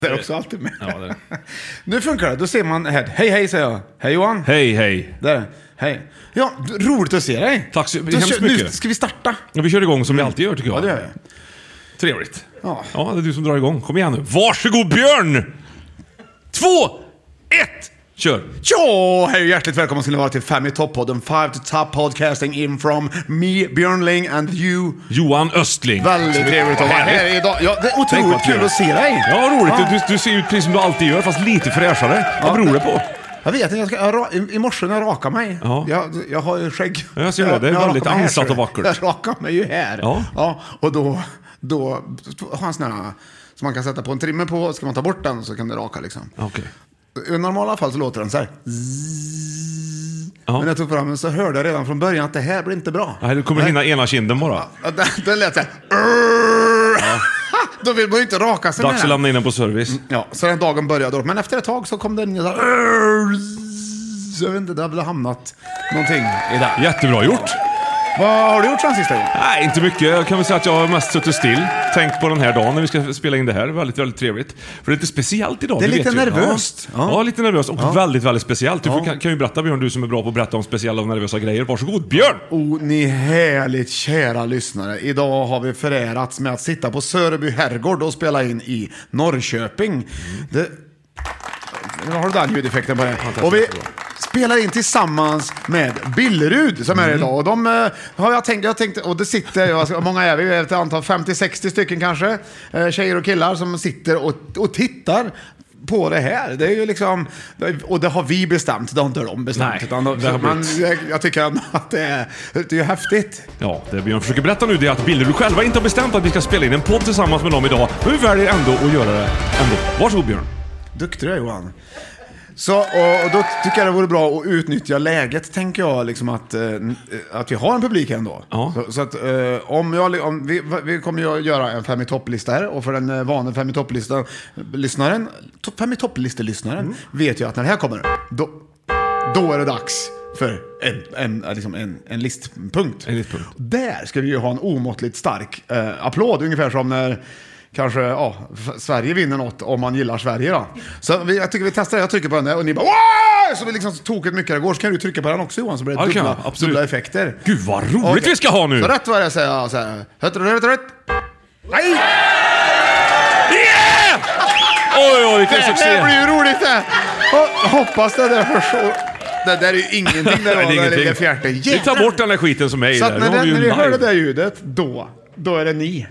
Det är också alltid med. Ja, det. Nu funkar det. Då ser man här. Hej, hej säger jag. Hej Johan. Hej, hej. Där. Hej. Ja, d- roligt att se dig. Tack så Då hemskt kör- Nu mycket. ska vi starta. Ja, Vi kör igång som vi alltid gör tycker jag. Ja, det gör vi. Trevligt. Ja. Ja, det är du som drar igång. Kom igen nu. Varsågod Björn! Två, ett, kör! Ja, hej och hjärtligt välkomna ska ni vara till Fem i topp-podden. Five to top podcasting in from me, Björn Ling and you. Johan Östling. Väldigt trevligt att vara här idag. Ja, det är Tänk otroligt vad kul trevligt. att se dig. Ja, vad roligt. Du, du ser ut precis som du alltid gör, fast lite fräschare. Vad beror det på? Jag vet inte, jag ska, jag, ra- i- i morse när jag rakade mig. Ja. Jag, jag har ju skägg. Ja, jag ser det. Det är Jag rakar väldigt mig här, ansat ser du. och vackert. Jag rakade mig ju här. Ja. och då, då har jag en sån här som man kan sätta på en trimmer på. Ska man ta bort den så kan det raka liksom. Okej. I normala fall så låter den så här. Ja. Men när jag tog fram den så hörde jag redan från början att det här blir inte bra. Nej, du kommer hinna ena kinden bara. Ja, Den, den lät så här. Då vill man ju inte raka sig Dags att med den. lämna in den på service. Ja, så den dagen började då. Men efter ett tag så kom den in så här. Så jag vet inte, det har väl hamnat någonting i det. Jättebra gjort. Vad har du gjort sen sist? Johan? Nej, inte mycket. Jag kan väl säga att jag har mest suttit still. Tänkt på den här dagen när vi ska spela in det här. Väldigt, väldigt trevligt. För det är lite speciellt idag. Det är du lite vet ju. nervöst. Ja. Ja. Ja. lite nervöst och väldigt, väldigt speciellt. Du får- Ja. kan, kan ju berätta Björn, du som är bra på att berätta om speciella och nervösa grejer. Varsågod Björn! Oh, ni härligt kära lyssnare. Idag har vi förärats med att sitta på Sörby herrgård och spela in i Norrköping. Det... Nu har du den ljudeffekten på det. Och vi spelar in tillsammans med Billerud som är idag. Och de eh, har jag tänkt, jag tänkt, och det sitter, jag ska- hur många är vi? Vi är ett antal, 50-60 stycken kanske. eh, Tjejer och killar som sitter och, och tittar på det här. Det är ju liksom, och det har vi bestämt, det har inte de bestämt. Nej, utan de, det har man, blivit. jag, jag tycker ändå att det är, det är ju häftigt. Ja, det Björn försöker berätta nu det är att Billerud själva inte har bestämt att vi ska spela in en podd tillsammans med dem idag. Men vi väljer ändå att göra det ändå. Varsågod Björn! Duktig du är Johan. Så, och, och då tycker jag det vore bra att utnyttja läget, tänker jag, liksom att, eh, n- eh, att vi har en publik ändå. Ja. Så, så att, eh, om jag, li- om vi, va- vi kommer ju att göra en fem i topplista här, och för den eh, vane fem i topp-lyssnaren, to, fem i topp-listelyssnaren, Mm. vet ju att när det här kommer, då, då är det dags för en, en, eh, liksom en, en listpunkt. En listpunkt. Där ska vi ju ha en omåttligt stark eh, applåd, ungefär som när kanske ja, F- Sverige vinner något om man gillar Sverige då. Så vi, jag tycker vi testar, jag trycker på den där och ni bara Wah! Så vi liksom så tokigt mycket det går, så kan du trycka på den också Johan så blir det Ja, det kan dubbla, jag, absolut. dubbla effekter. Gud vad roligt Okej. vi ska ha nu! Så rätt vad det är säger jag så här, rätt, rätt, rätt. Nej! Yeah! Oj, oj, vilken Det succé! här blir ju roligt det! Och Hoppas det där hörs. och- Det där är ju ingenting där Nej, det var, den där ingenting. lilla fjärten. Vi tar bort den där skiten som är i Så där. att när, Nu har det, vi ju när ni live. hör det där ljudet, då, då är det ni.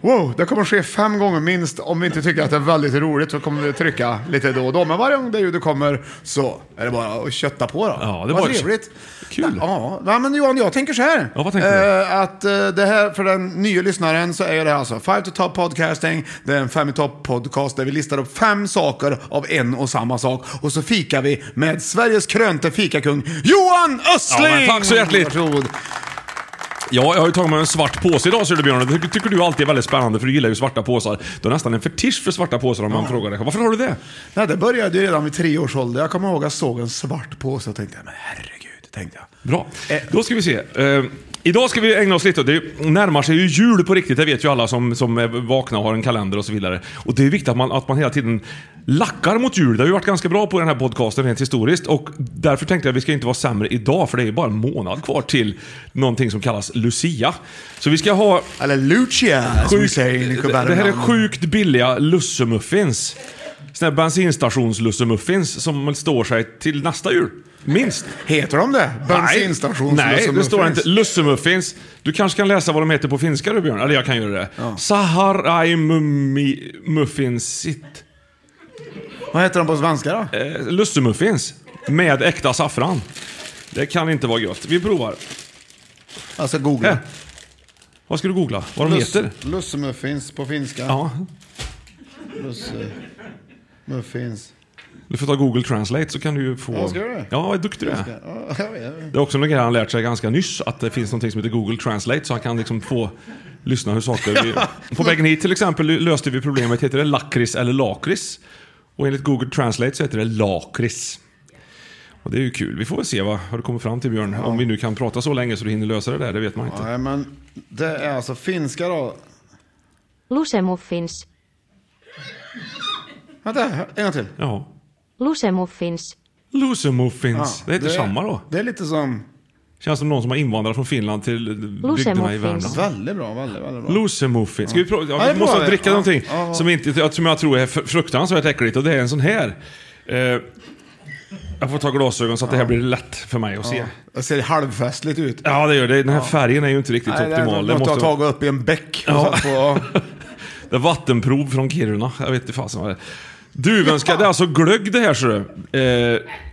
Wow, det kommer ske fem gånger minst. Om vi inte tycker att det är väldigt roligt så kommer vi trycka lite då och då. Men varje gång det ljudet kommer så är det bara att kötta på då. Ja, det Vad var ju- trevligt. Kul. Ja, ja, men Johan, jag tänker så här. Ja, vad tänker du? Eh, Att eh, det här, för den nya lyssnaren så är det alltså Five to Top Podcasting. Det är en Fem i Top Podcast där vi listar upp fem saker av en och samma sak. Och så fikar vi med Sveriges krönte fikakung Johan Östling! Ja, men tack så hjärtligt. Varsågod. Ja, jag har ju tagit med en svart påse idag Söderbjörn och det ty- tycker du alltid är väldigt spännande för du gillar ju svarta påsar. Du har nästan en fetisch för svarta påsar om man frågar dig. Varför har du det? Nej, det började ju redan vid tre års ålder. Jag kommer ihåg att jag såg en svart påse och tänkte, men herregud, tänkte jag. Bra. Då ska vi se. Eh, Idag ska vi ägna oss lite åt, det närmar sig ju jul på riktigt, det vet ju alla som, som är vakna och har en kalender och så vidare. Och det är viktigt att man, att man hela tiden lackar mot jul. Det har vi varit ganska bra på i den här podcasten rent historiskt och därför tänkte jag att vi ska inte vara sämre idag för det är ju bara en månad kvar till någonting som kallas Lucia. Så vi ska ha Eller Lucia, som vi säger i Sjukt, det Nicobarna. det här är sjukt billiga lussemuffins. Såna här bensinstationslussemuffins som står sig till nästa jul. Minst. Heter de det? Bensinstations Nej, det står muffins. inte. Lussemuffins. Du kanske kan läsa vad de heter på finska du Björn? Eller jag kan göra det. Saharai mummi- muffinsit. Vad heter de på svenska då? Eh, Lussemuffins. Med äkta saffran. Det kan inte vara gött. Vi provar. Alltså googla. Här. Vad ska du googla? Vad de heter? Lussemuffins på finska. Ja, Muffins. du får ta Google Translate så kan du ju få... Ja, ska jag göra det? Ja, vad duktig du är. Ja, jag vet. Det är också en grej han lärt sig ganska nyss, att det finns någonting som heter Google Translate, så han kan liksom få lyssna hur saker... Vi... På vägen hit till exempel löste vi problemet, heter det lakrits eller lakrits? Och enligt Google Translate så heter det lakrits. Och det är ju kul. Vi får väl se vad, vad du kommer fram till Björn. Om vi nu kan prata så länge så du hinner lösa det där, det vet man inte. Nej, men det är alltså finska då. Lusemuffins. Vänta, en gång till. Ja. Lusemuffins. Lusemuffins. det heter samma då. Det är lite som... Känns som någon som har invandrat från Finland till bygderna i Lusemuffins. Värmland. Väldigt bra, väldigt, väldigt bra. Lusemuffins. Ska vi prova? Ja, det Ja, är vi bra måste det. dricka Ja, någonting ja, ja. Som, inte, som jag tror är fr- fruktansvärt äckligt och det är en sån här. Eh, jag får ta glasögon så att det här blir lätt för mig att se. Det ser halvfestligt ut. Ja, det gör det. Den här färgen är ju inte riktigt det är optimal. Det något jag måste har tagit upp i en bäck. och Ja. satt på. Det är vattenprov från Kiruna. Jag vet inte fasen vad det är. Duvenska, det är alltså glögg det här ser du. Eh,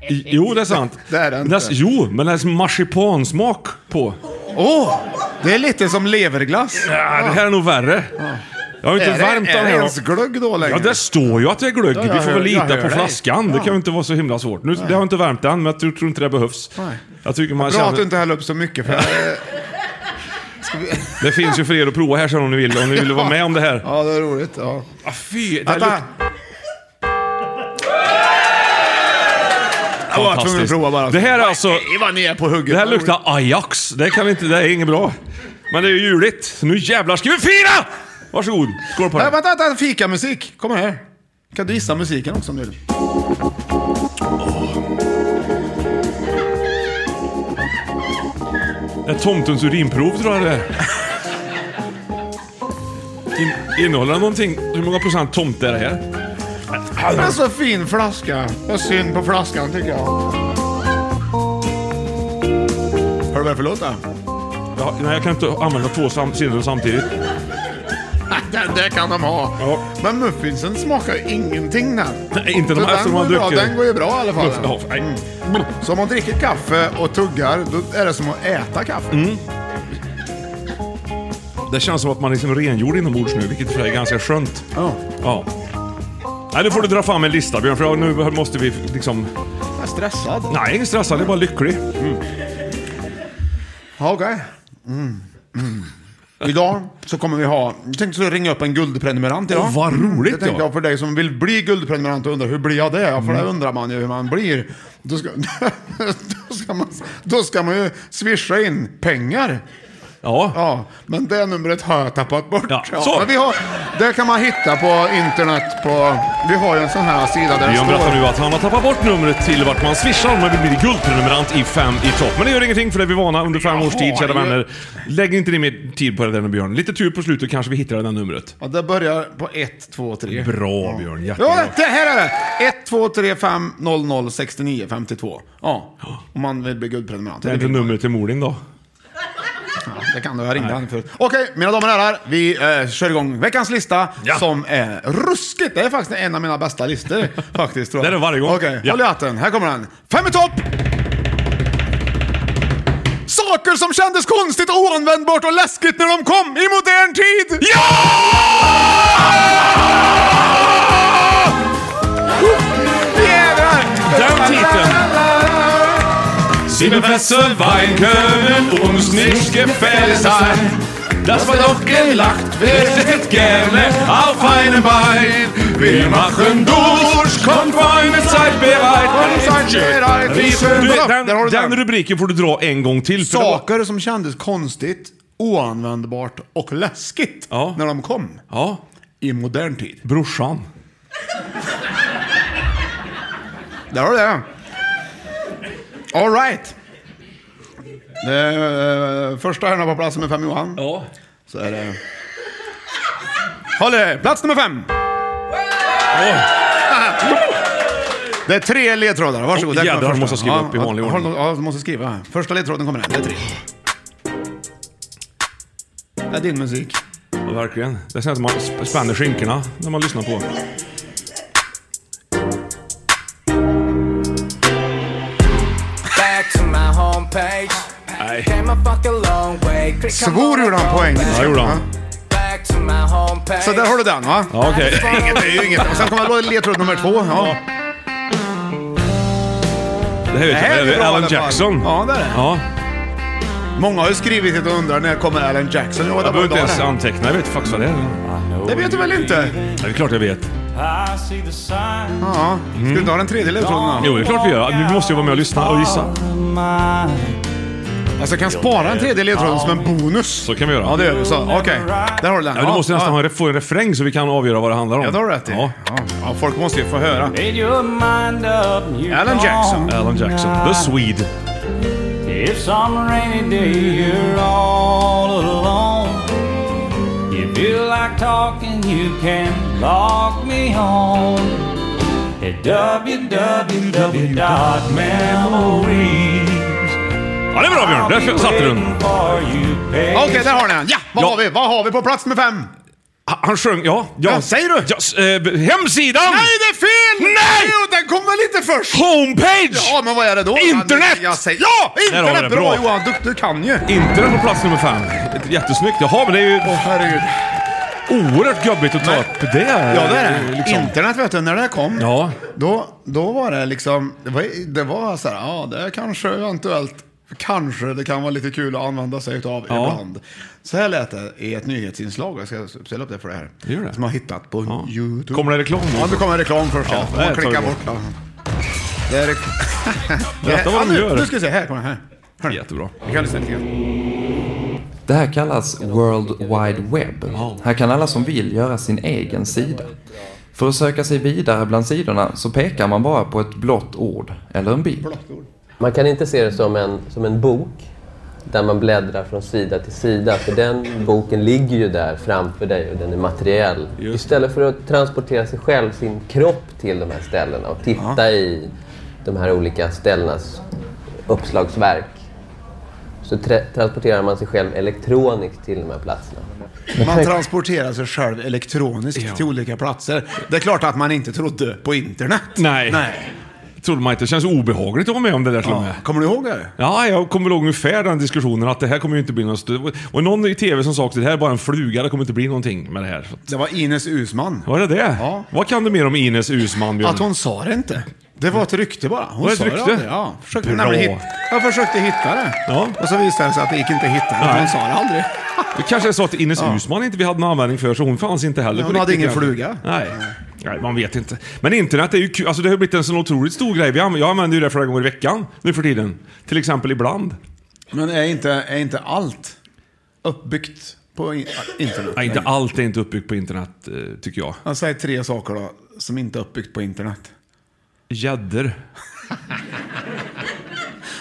i- jo, det är sant. Det är det inte. Näs- jo, men det är som marsipansmak på. Åh! det är lite som leverglass. Ja, det här är nog värre. Jag har ju Är inte det, värmt är den det här. då. ens glögg då längre? Ja, det står ju att det är glögg. jag Vi får hör- väl lita jag hör på dig. flaskan. Det Ja. kan ju inte vara så himla svårt. Nu, det har inte värmt än, men jag tror, tror inte det behövs. Nej. Jag tycker man Bra att du känner, inte häller upp så mycket. För det finns ju för er att prova här sen om ni vill. Om ni vill vara med om det här. ja, det är roligt. Ja. Ah, fy, det här Vänta! luktar Jag var tvungen att fantastiskt. prova bara. Det här är alltså... Nej, vad ni är på hugget. Det här luktar Ajax. Det kan inte... Det är inget bra. Men det är ju juligt. Så nu jävlar ska vi fira! Varsågod. Skål på Nej, det. vänta, vänta, fikamusik. Kommer här. Kan du gissa musiken också om du vill? Det är tomtens urinprov tror jag det är. In, innehåller det någonting? Hur många procent tomt är det här? Det är så fin flaska. Det är synd på flaskan tycker jag. Hör du vad det är för låt då? Ja, nej, jag kan inte använda två sam- sidor samtidigt. Den där kan de ha. Ja. Men muffinsen smakar ju ingenting den. Nej, inte de Så här som den, man går ju bra, dricker. den går ju bra i alla fall. Ja, nej. Så om man dricker kaffe och tuggar, då är det som att äta kaffe. Mm. Det känns som att man är liksom rengjord inombords nu, vilket i och för sig är ganska skönt. Ja. Ja. Nej, nu får du dra fram en lista Björn, för ja, nu måste vi liksom... Jag är stressad. Nej, ingen stressad, det är bara lycklig. Ja, Okej. Mm. Mm. Idag så kommer vi ha, jag tänkte skulle ringa upp en guldprenumerant idag. Mm, Åh, vad roligt, Det tänkte ja. jag för dig som vill bli guldprenumerant och undrar hur blir jag det? Ja, för det undrar man ju hur man blir. Då ska, då ska, man, då ska man ju swisha in pengar. Ja. Ja, men det numret har jag tappat bort. Ja, så. men vi har, det kan man hitta på internet på, vi har ju en sån här sida där det Björn står. berättar nu att han har tappat bort numret till vart man swishar om man vill bli guldprenumerant i fem i topp. Men det gör ingenting för det är vi vana under fem års tid, Jaha, kära det är- vänner. Lägg inte ner mer tid på det där med Björn. Lite tur på slutet kanske vi hittar det där numret. Ja, det börjar på 1, 2, 3. Bra Björn, jättebra. Ja, det här är det! 1, 2, 3, 5, 0, 0, 69, 52. Ja, om man vill bli guldprenumerant. Det är inte numret till mor din då? Det kan du, jag ringde han förut. Okej, mina damer och herrar, vi eh, kör igång veckans lista Ja. som är ruskigt. Det är faktiskt en av mina bästa listor, faktiskt. Tror jag. Det är det varje gång. Okej, Ja. håll i hatten. Här kommer den. Fem i topp! Saker som kändes konstigt, oanvändbart och läskigt när de kom i modern tid! Jävlar! Den titeln! Sieben Fässer Wein können uns nicht gefährlich sein. Das war doch gelacht, wir sind gerne auf einem Bein. Wir machen durch, Konvoj med Zeitbereit. Zeitbereit. Vi- du vet, Där har Den, du den. den rubriken får du dra en gång till. för det var- Saker som kändes konstigt, oanvändbart och läskigt Ja. när de kom Ja, i modern tid. brorsan. Där har du det. All right. Det är, eh, första herrarna på plats med fem Johan. Ja. Så är det... Håll i dig. Plats nummer fem. Det är tre ledtrådar. Varsågod. Åh, Där kommer jädrar, första. måste jag skriva upp i vanlig ja, ordning. Ja, ja, du måste skriva. här. Första ledtråden kommer här. Det är tre. Det är din musik. Ja, verkligen. Det känns som att man sp- spänner skinkorna när man lyssnar på. Back to my homepage. Nej. Came a fucking long way. Click Svor gjorde han på engelska. Ja, gjorde han. Back to my homepage. Så där har du den va? Ja, okej. Inget, det är ju inget. Och sen kommer ledtråd nummer två. Ja. Det här vet här jag. Det är bra är i alla Alan fall. Jackson. Ja, det är det. Ja. Många har ju skrivit hit och undrar när kommer Alan Jackson? Ja, det, Jag var behöver inte idag, ens det. anteckna. Jag vet faktiskt vad det är. det vet du väl inte? Ja, det är klart jag vet. Ja. Ska du inte ha den tredje ledtråden då? Jo, det är klart vi gör. Nu måste jag vara med och lyssna och gissa. Alltså jag kan spara den tredje ledtråden som en bonus. Så kan vi göra. Ja, det gör vi. Så, Okej, där har du den. Ja, men du måste nästan ha en, få en refräng så vi kan avgöra vad det handlar om. Ja, det har du rätt i. Ja. Ja. Ja, folk måste ju få höra. Made your mind up. you Alan gone Jackson. Alan Jackson. The Swede. If some rainy day you're all alone, you feel like talking, you can log me on at www.memories. Ja, det är bra Björn. Där satte du den. Okej, där har ni den. Ja, vad Ja. har vi? Vad har vi på plats med fem? Ha- Han sjöng... Ja. ja. Ja, säger du? Ja, s- eh, b- hemsidan! Nej, det är fel! Nej! Jo, den kom väl inte först? Homepage! Ja, men vad är det då? Internet! Jag säger, ja, Där har vi internet! det. Bra. Bra, Johan, du, du kan ju. Internet på plats nummer fem. Jättesnyggt. Jaha, men det är ju Åh herregud. oerhört gubbigt att ta Nej. upp det. Ja, det är det. Liksom. Internet vet du, när det kom, Ja. då, då var det liksom, det var, det var så här, ja det är kanske eventuellt, kanske det kan vara lite kul att använda sig av ibland. Så här lät det i ett nyhetsinslag, jag ska ställa upp det för det här. Gör det. Som jag har hittat på Ja. YouTube. Kommer det reklam nu? Ja, det kommer reklam först. Ja, Ja, det man här tar klickar vi bort bort. den. Det är rek- Berätta Ja, vad de nu- gör. Nu ska vi se, här kommer den här. Hör ni? Jättebra. Vi kan lyssna lite grann. Det här kallas World Wide Web. Här kan alla som vill göra sin egen sida. För att söka sig vidare bland sidorna så pekar man bara på ett blått ord eller en bild. Man kan inte se det som en, som en bok där man bläddrar från sida till sida. För den boken ligger ju där framför dig och den är materiell. Istället för att transportera sig själv, sin kropp till de här ställena och titta i de här olika ställenas uppslagsverk så tra- transporterar man sig själv elektroniskt till de här platserna. Man transporterar sig själv elektroniskt till olika platser. Det är klart att man inte trodde på internet. Nej. Nej. Trodde man inte. Det känns obehagligt att vara med om det där till och med. Kommer du ihåg det? Ja, jag kommer ihåg ungefär den diskussionen att det här kommer ju inte bli något... stö- Och någon i TV som sa att det här är bara en fluga, det kommer inte bli någonting med det här. Så att- Det var Ines Usman. Var det det? Ja. Vad kan du mer om Ines Uusmann, Björn? Att hon sa det inte. Det var ett rykte bara. Hon Var det ett sa rykte? aldrig. Ja. Jag Försökte, Bra. nämligen hitta, jag försökte hitta det. Ja. Och så visade det sig att det gick inte att hitta det. för Nej. Hon sa det aldrig. Det kanske är så att Ines Uusmann inte vi hade någon användning för, så hon fanns inte heller. Ja, på hon hade riktigt ingen kanske. fluga. Nej. Nej, man vet inte. Men internet är ju kul. Alltså det har blivit en sån otroligt stor grej. Vi anv- Jag använder ju det flera gånger i veckan nu för tiden. Till exempel ibland. Men är inte, är inte allt uppbyggt på in- internet? Nej, inte allt är inte uppbyggt på internet, eh, tycker jag. Jag säger tre saker då, som inte är uppbyggt på internet. Gäddor.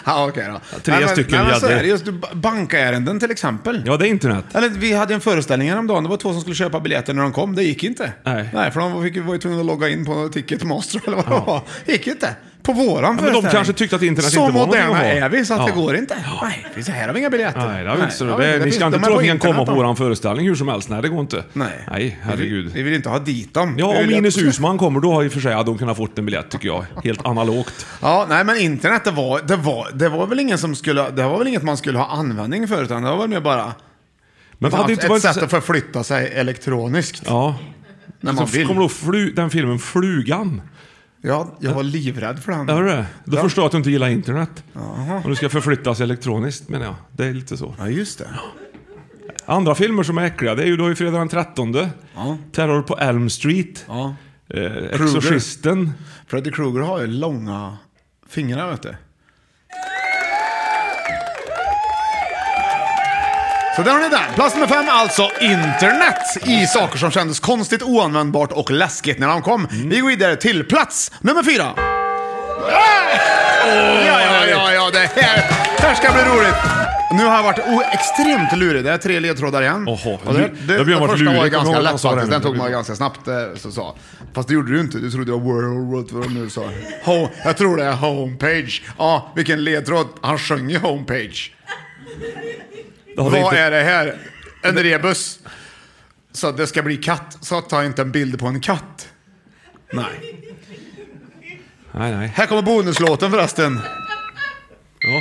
Ja, okej då. Tre Nej, men- stycken nej, men så gäddor. är det. Just ba- bankärenden till exempel. Ja, det är internet. Eller, vi hade en föreställning häromdagen, det var två som skulle köpa biljetter när de kom, det gick inte. Nej. för de fick, var ju tvungna att logga in på Ticketmaster eller vad det var. gick inte. På våran de föreställning. kanske tyckte att internet så inte var någonting moderna att ha. är vi så att Ja. det går inte. Nej, finns det här har vi inga biljetter. Nej, det har vi inte. Så det har det, vi ni Det ska finns- inte de är tro att på ni kan komma internet på då. våran föreställning hur som helst. Nej, det går inte. Nej. Nej, Vi, herregud. vi vill inte ha dit dem. Vi Ja, om vill att- Ines Uusmann kommer då har i och för sig hade hon kunnat fått en biljett tycker jag. Helt analogt. Ja, nej men internet det var, det var, det var väl ingen som skulle, det var väl inget man skulle ha användning för utan det var väl mer bara Men hade inte ett varit... sätt att förflytta sig elektroniskt. Ja. När man Så vill. kommer då flu, den filmen Flugan. Ja, jag var livrädd för den. Hör du det? Då förstår jag att du inte gillar internet. Och du ska förflyttas elektroniskt menar jag. Det är lite så. Ja, just det. Andra filmer som är äckliga, det är ju då i fredag den 13. Terror på Elm Street. Eh, Exorcisten. Freddy Krueger har ju långa fingrar vet du. Så där har ni den. Plats nummer fem, alltså internet i saker som kändes konstigt, oanvändbart och läskigt när de kom. Vi går vidare till plats nummer fyra. ja, ja, ja, ja, det här, det här ska bli roligt. Nu har jag varit o- extremt lurig. Det är tre ledtrådar igen. Oho, Och det, lu- det, då blir jag den varit första var ju lurig. ganska Kommer ihåg vad han sa där nu? lätt faktiskt. Den tog man ganska snabbt. eh, Så, så. Fast det gjorde du inte. Du trodde det var World World World nu sa. Home, jag tror det är Homepage. Ja, vilken ledtråd. Han sjöng ju Homepage. Det har vi Vad inte- är det här? En rebus. Så att det ska bli katt. Så ta inte en bild på en katt. Nej. Nej, nej. Här kommer bonuslåten förresten. Ja.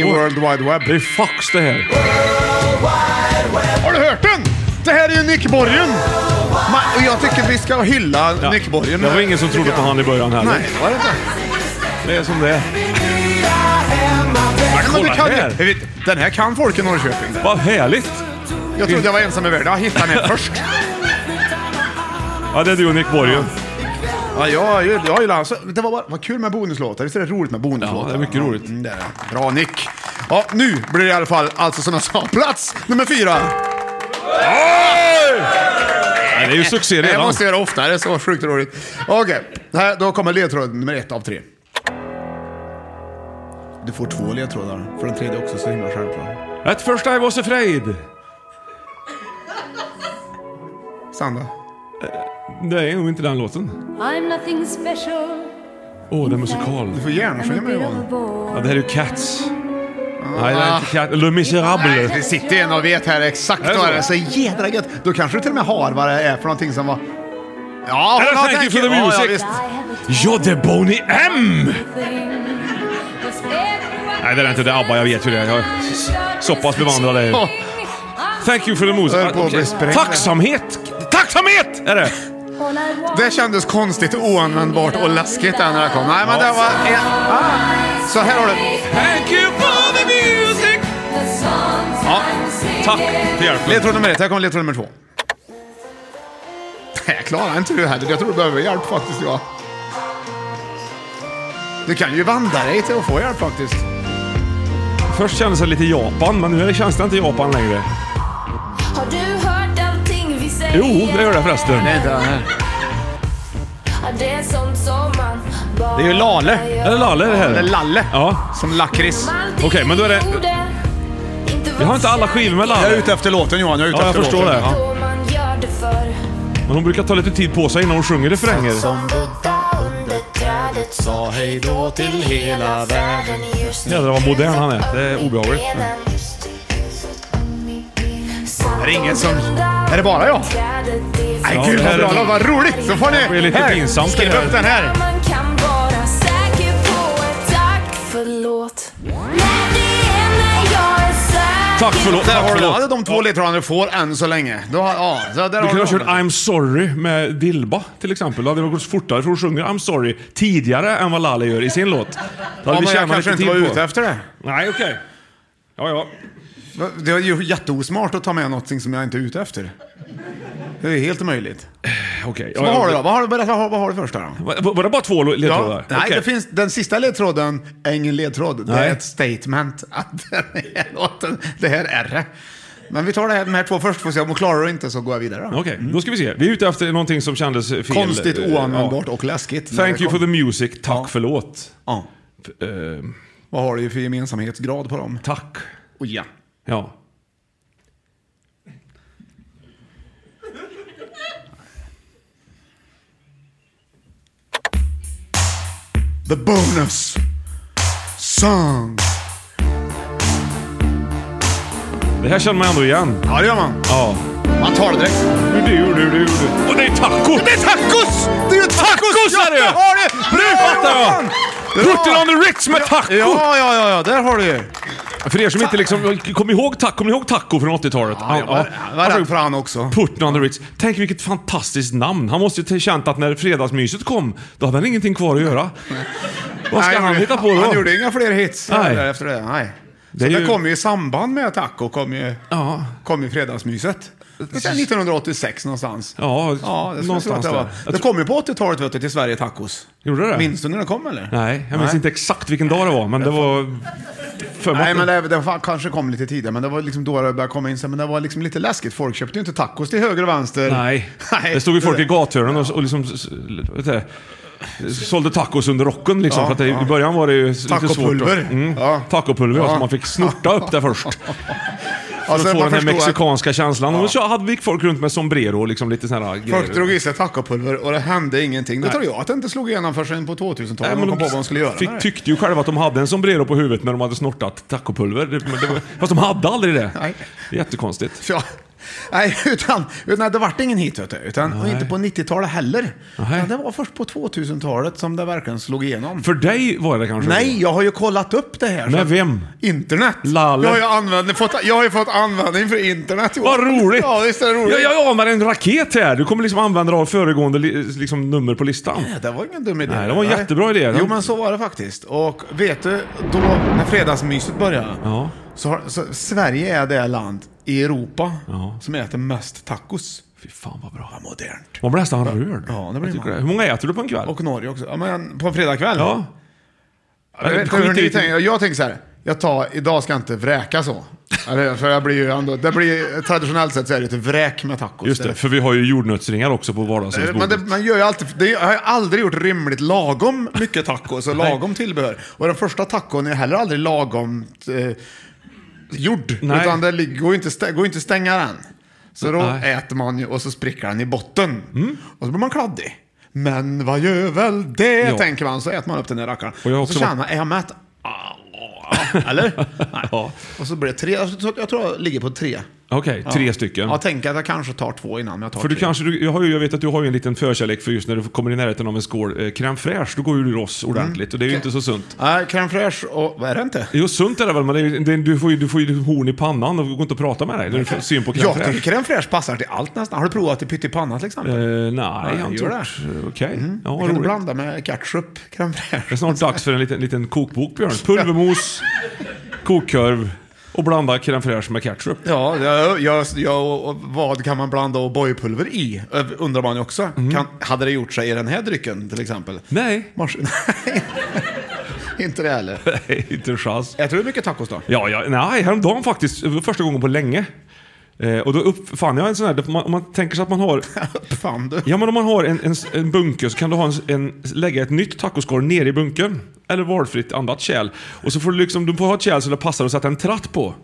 I Oj. World Wide Web. Det är fax det här. Har du hört den? Det här är ju Nick Borgen. Ma- och jag tycker vi ska hylla Ja. Nick Borgen. Det var ingen som trodde på han i början heller. Nej, det var det inte. Det är som det är. Men kolla du kan ju- här. Jag vet, Den här kan folk i Norrköping. Vad härligt! Jag trodde jag var ensam i världen. Jag hittade den här först. Ja, det är du och Nick Borgen. Ja, jag, jag, jag gillar alltså, Det var bara, vad kul med bonuslåtar. Visst är det roligt med bonuslåtar? Ja, det är mycket roligt. Mm, det är det. Bra Nick. Ja, nu blir det i alla fall, alltså som jag sa, plats nummer fyra. Nej, det är ju succé Jag redan. måste göra oftare, så sjukt roligt. Okej, här, då kommer ledtråd nummer ett av tre. Du får två ledtrådar, för den tredje är också så himla självklar. At first I was afraid. Sandra. Det är nog inte den låten. I'm nothing special. Åh, det är musikal. Du får gärna sjunga med Johan. Ja, det här är ju Cats. Nej, det är inte Cats. Le Miserable. Ah. Det sitter en och vet här exakt Är det vad så? det är. Så jädra gött. Då kanske du till och med har vad det är för någonting som var... Ja, Eller jag Thank You tänker- for the ja, Music. Ja, visst. Ja, det är Boney M! Nej, Nej, det är inte det. ABBA, jag vet ju det. Jag är så pass bevandrad. är jag. Ja. Thank you for the Jag höll på att bli music. sprängd. Tacksamhet! Tacksamhet är det! Det kändes konstigt, oanvändbart och läskigt där när det kom. Nej, men det var... en- Ah. Så här har du. Thank you for the music! Ja. Tack för hjälpen. Ledtråd nummer ett. Här kommer ledtråd nummer två. Det här klarar inte du heller. Jag tror du behöver hjälp faktiskt, Johan. Du kan ju vända dig till att få hjälp faktiskt. Först kändes det lite Japan, men nu är det- känns det inte Japan längre. Har du hört allting vi säger? Jo, det gör det förresten. Nej, inte den här. Ja, Det är sånt som man bara Det är ju Lale. Är det Lalle det Eller här? Lalle. Ja. Som lakrits. Okej, men då är det... Jag har inte alla skivor med Jag är Lalle. ute efter låten Johan. Jag är ute Ja, jag efter förstår låten. det. Ja. Då man gör det för Men hon brukar ta lite tid på sig innan hon sjunger refränger. Som Buddha under trädet sa hej då till hela världen Just Jädrar vad modern han är. Det är obehagligt. Är det ingen som... Är det bara jag? Nej Ja, gud det vad här bra är- låt, vad roligt! Så får ni... Det blir lite här, pinsamt det skriv här. upp den här. Man kan vara säker på ett tack förlåt Men det är när jag är säker Tack förlåt, Där tack har du förlåt. det. de två ledtrådarna du får än så länge. Då har, ja, så där Du har kunde ha du kört dem. I'm sorry med Dilba till exempel. Då hade det gått fortare för hon sjunger I'm sorry tidigare än vad Lalle gör i sin låt. Då hade Ja, vi men jag tjänat kanske lite inte tid var på. ute efter det. Nej, okej. Ja, ja. Det är ju jätteosmart att ta med någonting som jag inte är ute efter. Det är helt omöjligt. Okej. Så ja, vad ja. har du då? Vad har, du- berätta, vad har, vad har du först då? då? Va- Var, det bara två lo- ledtrådar? nej, Okej. det finns, den sista ledtråden är ingen ledtråd. Det Nej. är ett statement att den här låten, det här är det. Men vi tar det här, de här två först, får se om hon klarar det inte så går jag vidare. Då. Okej, då ska vi se. Vi är ute efter någonting som kändes fel. Mm. Konstigt, Eh, oanvändbart ja. och läskigt. Thank you for the music, tack Ja. förlåt. Ja. Eh, Vad har du för gemensamhetsgrad på dem? tack. Och ja. Ja. The bonus song. Det här känner man ändå igen. Ja, det gör man. Ja. Man tar det direkt. Du, du, du, du, du. Och det är taco! Det är tacos! Det är ju tacos! Tacos är det! Ja, har det! Nu fattar jag! Putin on the Ritz med taco! Ja, ja, ja, ja, där har du ju. För er som inte liksom, kom ihåg taco, kommer ni ihåg taco från 80-talet? Ja, jag var, jag var Alltså- rädd för han också. Putin on the Ritz. Tänk vilket fantastiskt namn. Han måste ju ha känt att när fredagsmyset kom, då hade han ingenting kvar att göra. Vad ska Nej, han gjorde- hitta på då? Han gjorde inga fler hits Nej. där efter det. Nej. Det Det, är så det ju- kom ju i samband med Taco, kom ju, Ja. kom ju fredagsmyset. Det är så här 1986 någonstans. Ja, Ja, det någonstans någonstans det var. där. Det kom ju på 80-talet vet du, till Sverige tacos. Gjorde det? Minns du när det kom eller? Nej, jag minns inte exakt vilken dag det var, men det var... För mig Nej, att- men det, det fan, kanske kom lite tidigare, men det var liksom då det började komma in. sen, Men det var liksom lite läskigt. Folk köpte ju inte tacos till höger och vänster. Nej. Det stod ju folk i gathörnen och, och liksom... s- vet du, Sålde tacos under rocken liksom. Ja, för att det, ja. I början var det ju lite svårt. att- Tacopulver. Mm, Tacopulver, ja. Så man fick snorta upp det först. För Alltså, att få den man här förstår att- mexikanska känslan. Och så hade vi folk runt med sombrero och liksom lite sådana här Folk grejer. drog i sig tacopulver och det hände ingenting. Det Nej. tror jag att det inte slog igenom förrän på 2000-talet. Nej, Man men kom på vad de skulle göra. fick, med det. tyckte ju själva att de hade en sombrero på huvudet när de hade snortat tacopulver. Det, men det var, fast de hade aldrig det. Nej. Det är jättekonstigt. Ja. Nej, utan, utan det vart ingen hit vet du. Utan, och Nej. inte på 90-talet heller. Utan det var först på 2000-talet som det verkligen slog igenom. För dig var det kanske Nej, jag har ju kollat upp det här. så Med att- vem? Internet. Lalle. Jag har, ju använt, fått, jag har ju fått användning för internet. Johan. Vad roligt! Ja, visst är det roligt? Jag, jag anar en raket här. Du kommer liksom använda dig av föregående li, liksom, nummer på listan. Nej, det var ingen dum idé. Nej, det var en jättebra idé. Den- Jo, men så var det faktiskt. Och vet du, då när fredagsmyset började, Ja. så, har, så Sverige är det land i Europa som äter mest tacos. Fy fan vad bra. Vad modernt. Man blir nästan rörd. Ja, det Jag blir tycker det. man. Hur många äter du på en kväll? Och Norge också. Ja, men på en fredagkväll? Ja. Jag, vet, inte Skit hur i ni det. tänker. jag tänker så här, jag tar, idag ska jag inte vräka så. Eller, för jag blir ju ändå, det blir, traditionellt sett så är det ett vräk med tacos. Just det, för vi har ju jordnötsringar också på Eh, Men vardagsrumsbordet. det, man gör ju alltid, det, jag har ju aldrig gjort rimligt lagom mycket tacos och lagom tillbehör. Och den första tacon är heller aldrig lagom eh, gjord. Nej. Utan det ligger- går ju inte, stä- går ju inte att stänga den. Så då Nej. Mm. äter man ju och så spricker den i botten. Och så blir man kladdig. Men vad gör väl det, Ja. tänker man. Så äter man upp den där rackaren. Och jag har Och så också känner varit- man, är jag mätt? Ah, ah, Eller? Nej. Ja. Och så blir det tre. Jag tror- jag tror jag ligger på tre. Okej, tre stycken. Jag tänker att jag kanske tar två innan men jag tar För du tre. kanske, du, jag, har ju, jag vet att du har ju en liten förkärlek för just när du kommer i närheten av en skål eh, crème fraîche, då går ju du loss Mm. ordentligt och det är ju inte så sunt. Nej, crème fraîche och... Vad är det inte? Jo, sunt är det väl, men det, är ju- det, du, får ju, du får ju horn i pannan och det går inte att prata med dig när du får syn på crème Jag fraîche. tycker crème fraîche passar till allt nästan. Har du provat i pyttipanna till exempel? Eh, nej, jag har inte gör gjort. Okej. Ja, det kan du roligt. blanda med ketchup, crème Det är fraîche. snart dags för en liten, liten kokbok, Björn. Pulvermos, kokkorv och blanda crème fraîche med ketchup. Ja, jag, jag, jag, och- och vad kan man blanda O'boy-pulver i? Ö, Undrar man ju också. Kan, hade det gjort sig i den här drycken till exempel? Mm. Nej. Mars, nej. Inte det heller. Nej, inte en chans. Äter du mycket tacos då? Ja, ja, nej, häromdagen faktiskt. Det var första gången på länge. Eh, och då uppfann jag en sån här, man- om man tänker sig att man har... Fan du. Ja, men om man har en, en, en bunker så kan du ha en, en, lägga ett nytt tacoskal nere i bunkern. Eller valfritt annat kärl. Och så får du liksom, du får ha ett kärl så det passar att sätta en tratt på.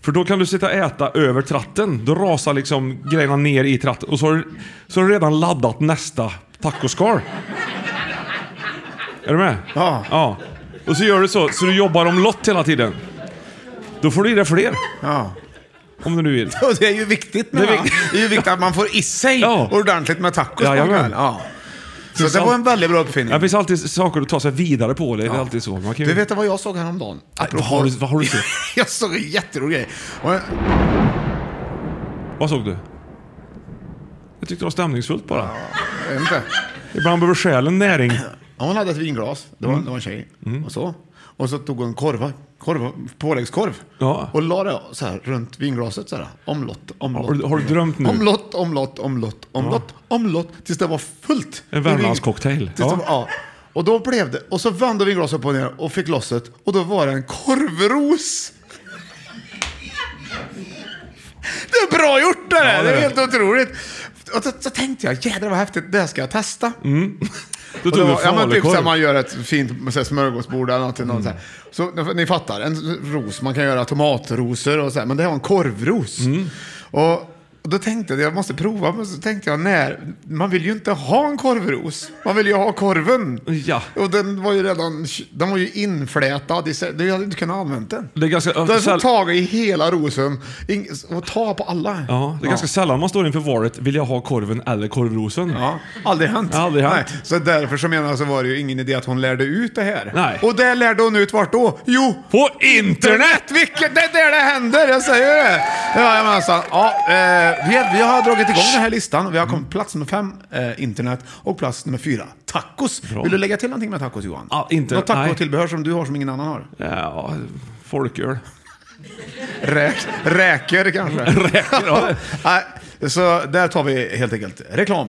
För då kan du sitta och äta över tratten. Då rasar liksom grejerna ner i tratten. Och så har, du- så har du redan laddat nästa tacoskal. Är du med? Ja. Ja. Och så gör du så, så du jobbar om lott hela tiden. Då får du i dig fler, Ja. om du vill. Och det är ju viktigt. Med Det är va? viktigt. det är ju viktigt att man får i sig Ja. ordentligt med tacos. på Jajamän. kvällen. ja. Så Finns det var all- en väldigt bra uppfinning. Det finns alltid saker att ta sig vidare på. Det är alltid så. Man kan ju... Du vet vad jag såg häromdagen? Nej, vad har du- vad har du sett? jag såg en jätterolig grej. Och jag- Vad såg du? Jag tyckte det var stämningsfullt bara. jag vet inte. Ibland behöver själen näring. Ja, Hon hade ett vinglas. Det Mm. var, det var en tjej. Och så. Och så tog hon korva. korva påläggskorv. Ja. Och la det så här runt vinglaset så här. Omlott, omlott. Har du- har du drömt nu? Omlott, omlott, omlott, omlott, omlott. Tills det var fullt. En Värmlandscocktail. Tills det var- Ja. Ja. Och då blev det. Och så vände vinglaset upp och ner och fick loss det. Och då var det en korvros. Det är bra gjort det där! Ja, det det, är är det. helt otroligt. Och så, så tänkte jag, jädrar vad häftigt, det här ska jag testa. Då Och det tog du var- ja, men typ falukorv. såhär, man gör ett fint så här, smörgåsbord eller något. Mm. Så, här. så ni fattar, en ros. Man kan göra tomatrosor och så här, men det här var en korvros. Mm. Och då tänkte jag, jag måste prova, men så tänkte jag, när, man vill ju inte ha en korvros. Man vill ju ha korven. Ja. Och den var ju redan, den var ju inflätad. i sig. Du hade inte kunnat använda den. Det är ganska, Du hade säll- fått tag i hela rosen ing- och ta på alla. ja, det är ganska sällan man står inför valet, vill jag ha korven eller korvrosen? Ja, aldrig hänt. Aldrig hänt. Nej, så därför så menar jag så var det ju ingen idé att hon lärde ut det här. Nej. Och det lärde hon ut vart då? Jo, På internet! Vilket, det är där det händer, jag säger det! Jajamensan. Ja, eh, vi, vi har dragit igång den här listan och vi har kommit Mm. plats nummer fem, eh, internet, och plats nummer fyra, tacos. Vill du lägga till någonting med tacos Johan? Ja, inte- Något nej. tacotillbehör som du har som ingen annan har? Ja, folköl. Räk, räker kanske? räker, ja. Nej, så där tar vi helt enkelt reklam.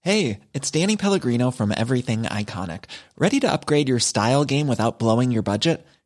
Hey, it's Danny Pellegrino from Everything Iconic. Ready to upgrade your style game without blowing your budget?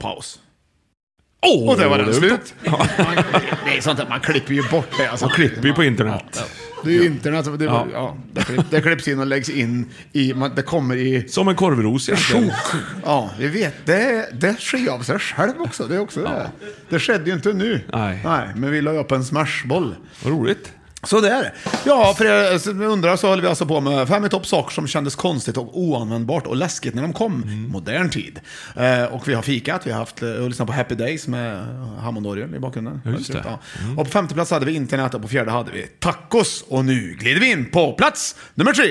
Paus. och där var den det var slut. Det är sånt att man klipper ju bort det. Alltså. Man klipper ju på internet. Det är ju internet. Det, Ja. ja. Ja, det, klipp, det klipps in och läggs in i... Man, det kommer i... Som en korvros egentligen. Ja, vi vet. Det, det sker av sig själv också. Det är också det. Det skedde ju inte nu. Nej. men vi la ju upp en smashboll. Vad roligt. Så det är det. Ja, för er som undrar så höll vi alltså på med fem i topp saker som kändes konstigt och oanvändbart och läskigt när de kom. Mm. i Modern tid. Eh, och vi har fikat, vi har haft eh, och lyssnat på Happy Days med eh, Hammond Orion i bakgrunden. Ja, just det. Mm. Och på femte plats hade vi internet och på fjärde hade vi tacos. Och nu glider vi in på plats nummer tre.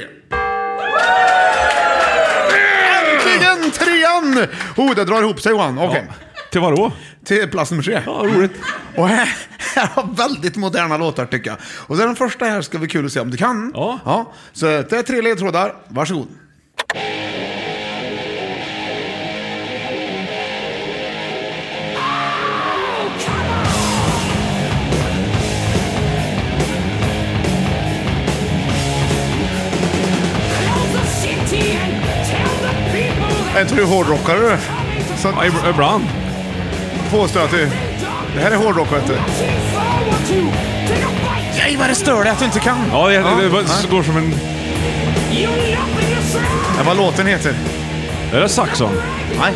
Äntligen trean! Oh, det drar ihop sig Johan. Okej. Till vad då? Till plats nummer tre. Ja, roligt. Och här, här har väldigt moderna låtar tycker jag. Och så den första här ska bli kul att se om du kan. Ja. Så det är tre ledtrådar. Varsågod. Är inte du hårdrockare? Så... Ja, ibland. Påstår jag att du... Det här är hårdrock vet du. Nej vad det stör dig att du inte kan. Ja, det, det, det var- nej. går som en... Ja, vad låten heter? Är det Saxon? Nej.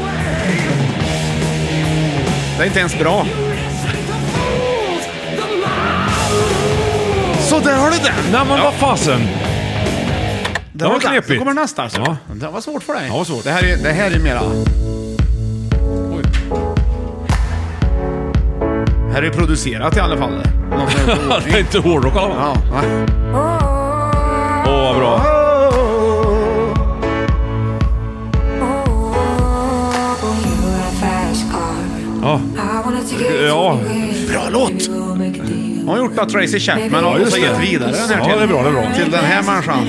Det är inte ens bra. Så där har du den! Nej men vad fasen! Det var var den. knepigt. Så kommer nästa alltså. Ja. Det var svårt för dig. Det var svårt. Det här är, det här är mera... Oj. Här är producerat i alla fall. Någon som har gjort det är inte hårdrock i alla fall. Ja, nej. Åh, vad bra. Ja. Ja. Bra låt! Hon har gjort av Tracy Chapman Ja, och just också det. gett vidare den här Ja, till, det är bra, det är bra. till den här människan.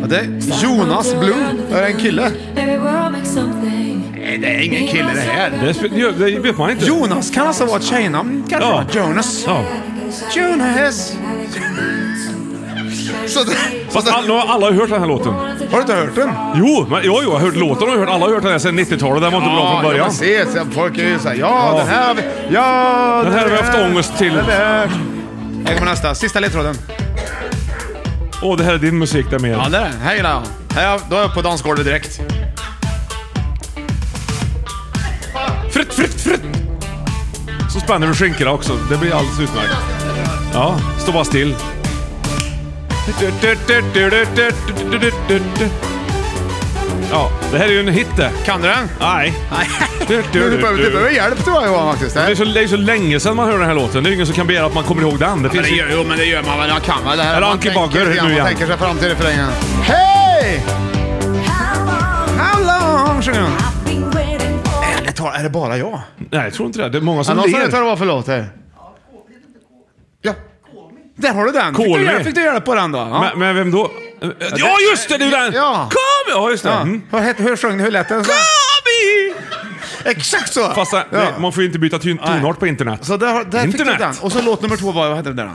Ja, Det är Jonas Blom. Är det en kille? Nej, det är ingen kille det här. Det, sp- det, det vet man inte. Jonas kan alltså vara ett tjejnamn kanske? Ja. Jonas. Ja. Jonas! Så det, Fast all, nu har alla hört den här låten. Har du inte hört den? Jo, men, jo, jo jag har hört låten och jag har hört, alla har hört den här sedan 90-talet. Den var inte bra från Ja, början. precis. Ja, Folk är ju såhär, ja, Ja. den här har vi... Ja, Den här har vi haft ångest till. Den här. Här kommer nästa. Sista ledtråden. Åh, det här är din musik där med. Ja, det är den. Här gillar jag. Här, då är jag på dansgolvet direkt. Fritt, fritt, fritt! Så spänner du skinkorna också. Det blir alldeles utmärkt. Ja, stå bara still. Ja, det här är ju en hit det. Kan du den? Nej. Du, Du, du, behöver, du behöver hjälp tror jag Johan faktiskt. Det är, så, det är så länge sedan man hörde den här låten. Det är ju ingen som kan begära att man kommer ihåg den. Det Ja, men finns det ju... gör, jo, men det gör man väl. Man kan väl det här. Eller Man Anki tänker Bagger lite grann, nu igen. Man tänker sig fram till refrängen. Hej! How long? Sjunger hon. betala? Är det bara jag? Nej, jag tror inte det. Det är många som Någon som ler. vet vad det var för låt här? Ja. Där har du den. Fick du, Kolmi. hjälp, fick du hjälp på den då? Ja. Men, men vem då? Ja, just det! Det är ju den! Ja. Kom! Ja, just det. Ja. Mm. Vad hette- Hur sjöng du? Hur lät den? Komi! Exakt så! Fast eh, Ja. nej, man får ju inte byta ton- tonart på internet. eh, Så där, har- där fick du den. Och så låt nummer två var, vad hette den där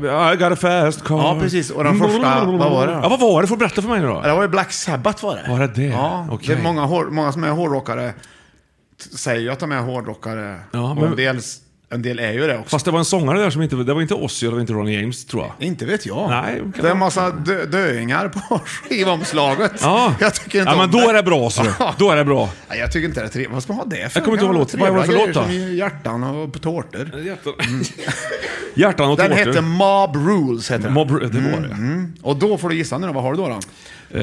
då? I got a fast car. Ja, precis. Och den första, vad var det då? Ja, vad var det? Får du berätta för mig nu då. Ja, Det var ju Black Sabbath var det. Var det det? Ja, Okej. det är många, hår, många som är hårdrockare t- säger ju att de är hårdrockare. Ja, Och en men- del, en del är ju det också. Fast det var en sångare där som inte... Det var inte Ozzy och det var inte Ronnie James, tror jag. Inte vet jag. Nej, det är en massa dö, döingar på skivomslaget. Ja. Jag tycker inte Ja, om men då är det bra, så. Då är det bra. Nej, jag tycker inte det är trevligt. Vad ska man ha det för? Jag kommer inte ihåg vad låt- vad var det för Trevliga låt då? grejer Som hjärtan och tårtor. Mm. Hjärtan och Den tårtor. hette Mob Rules. Heter den. Mob Ru- det var det. Mm. Och då får du gissa nu då. Vad har du då? då?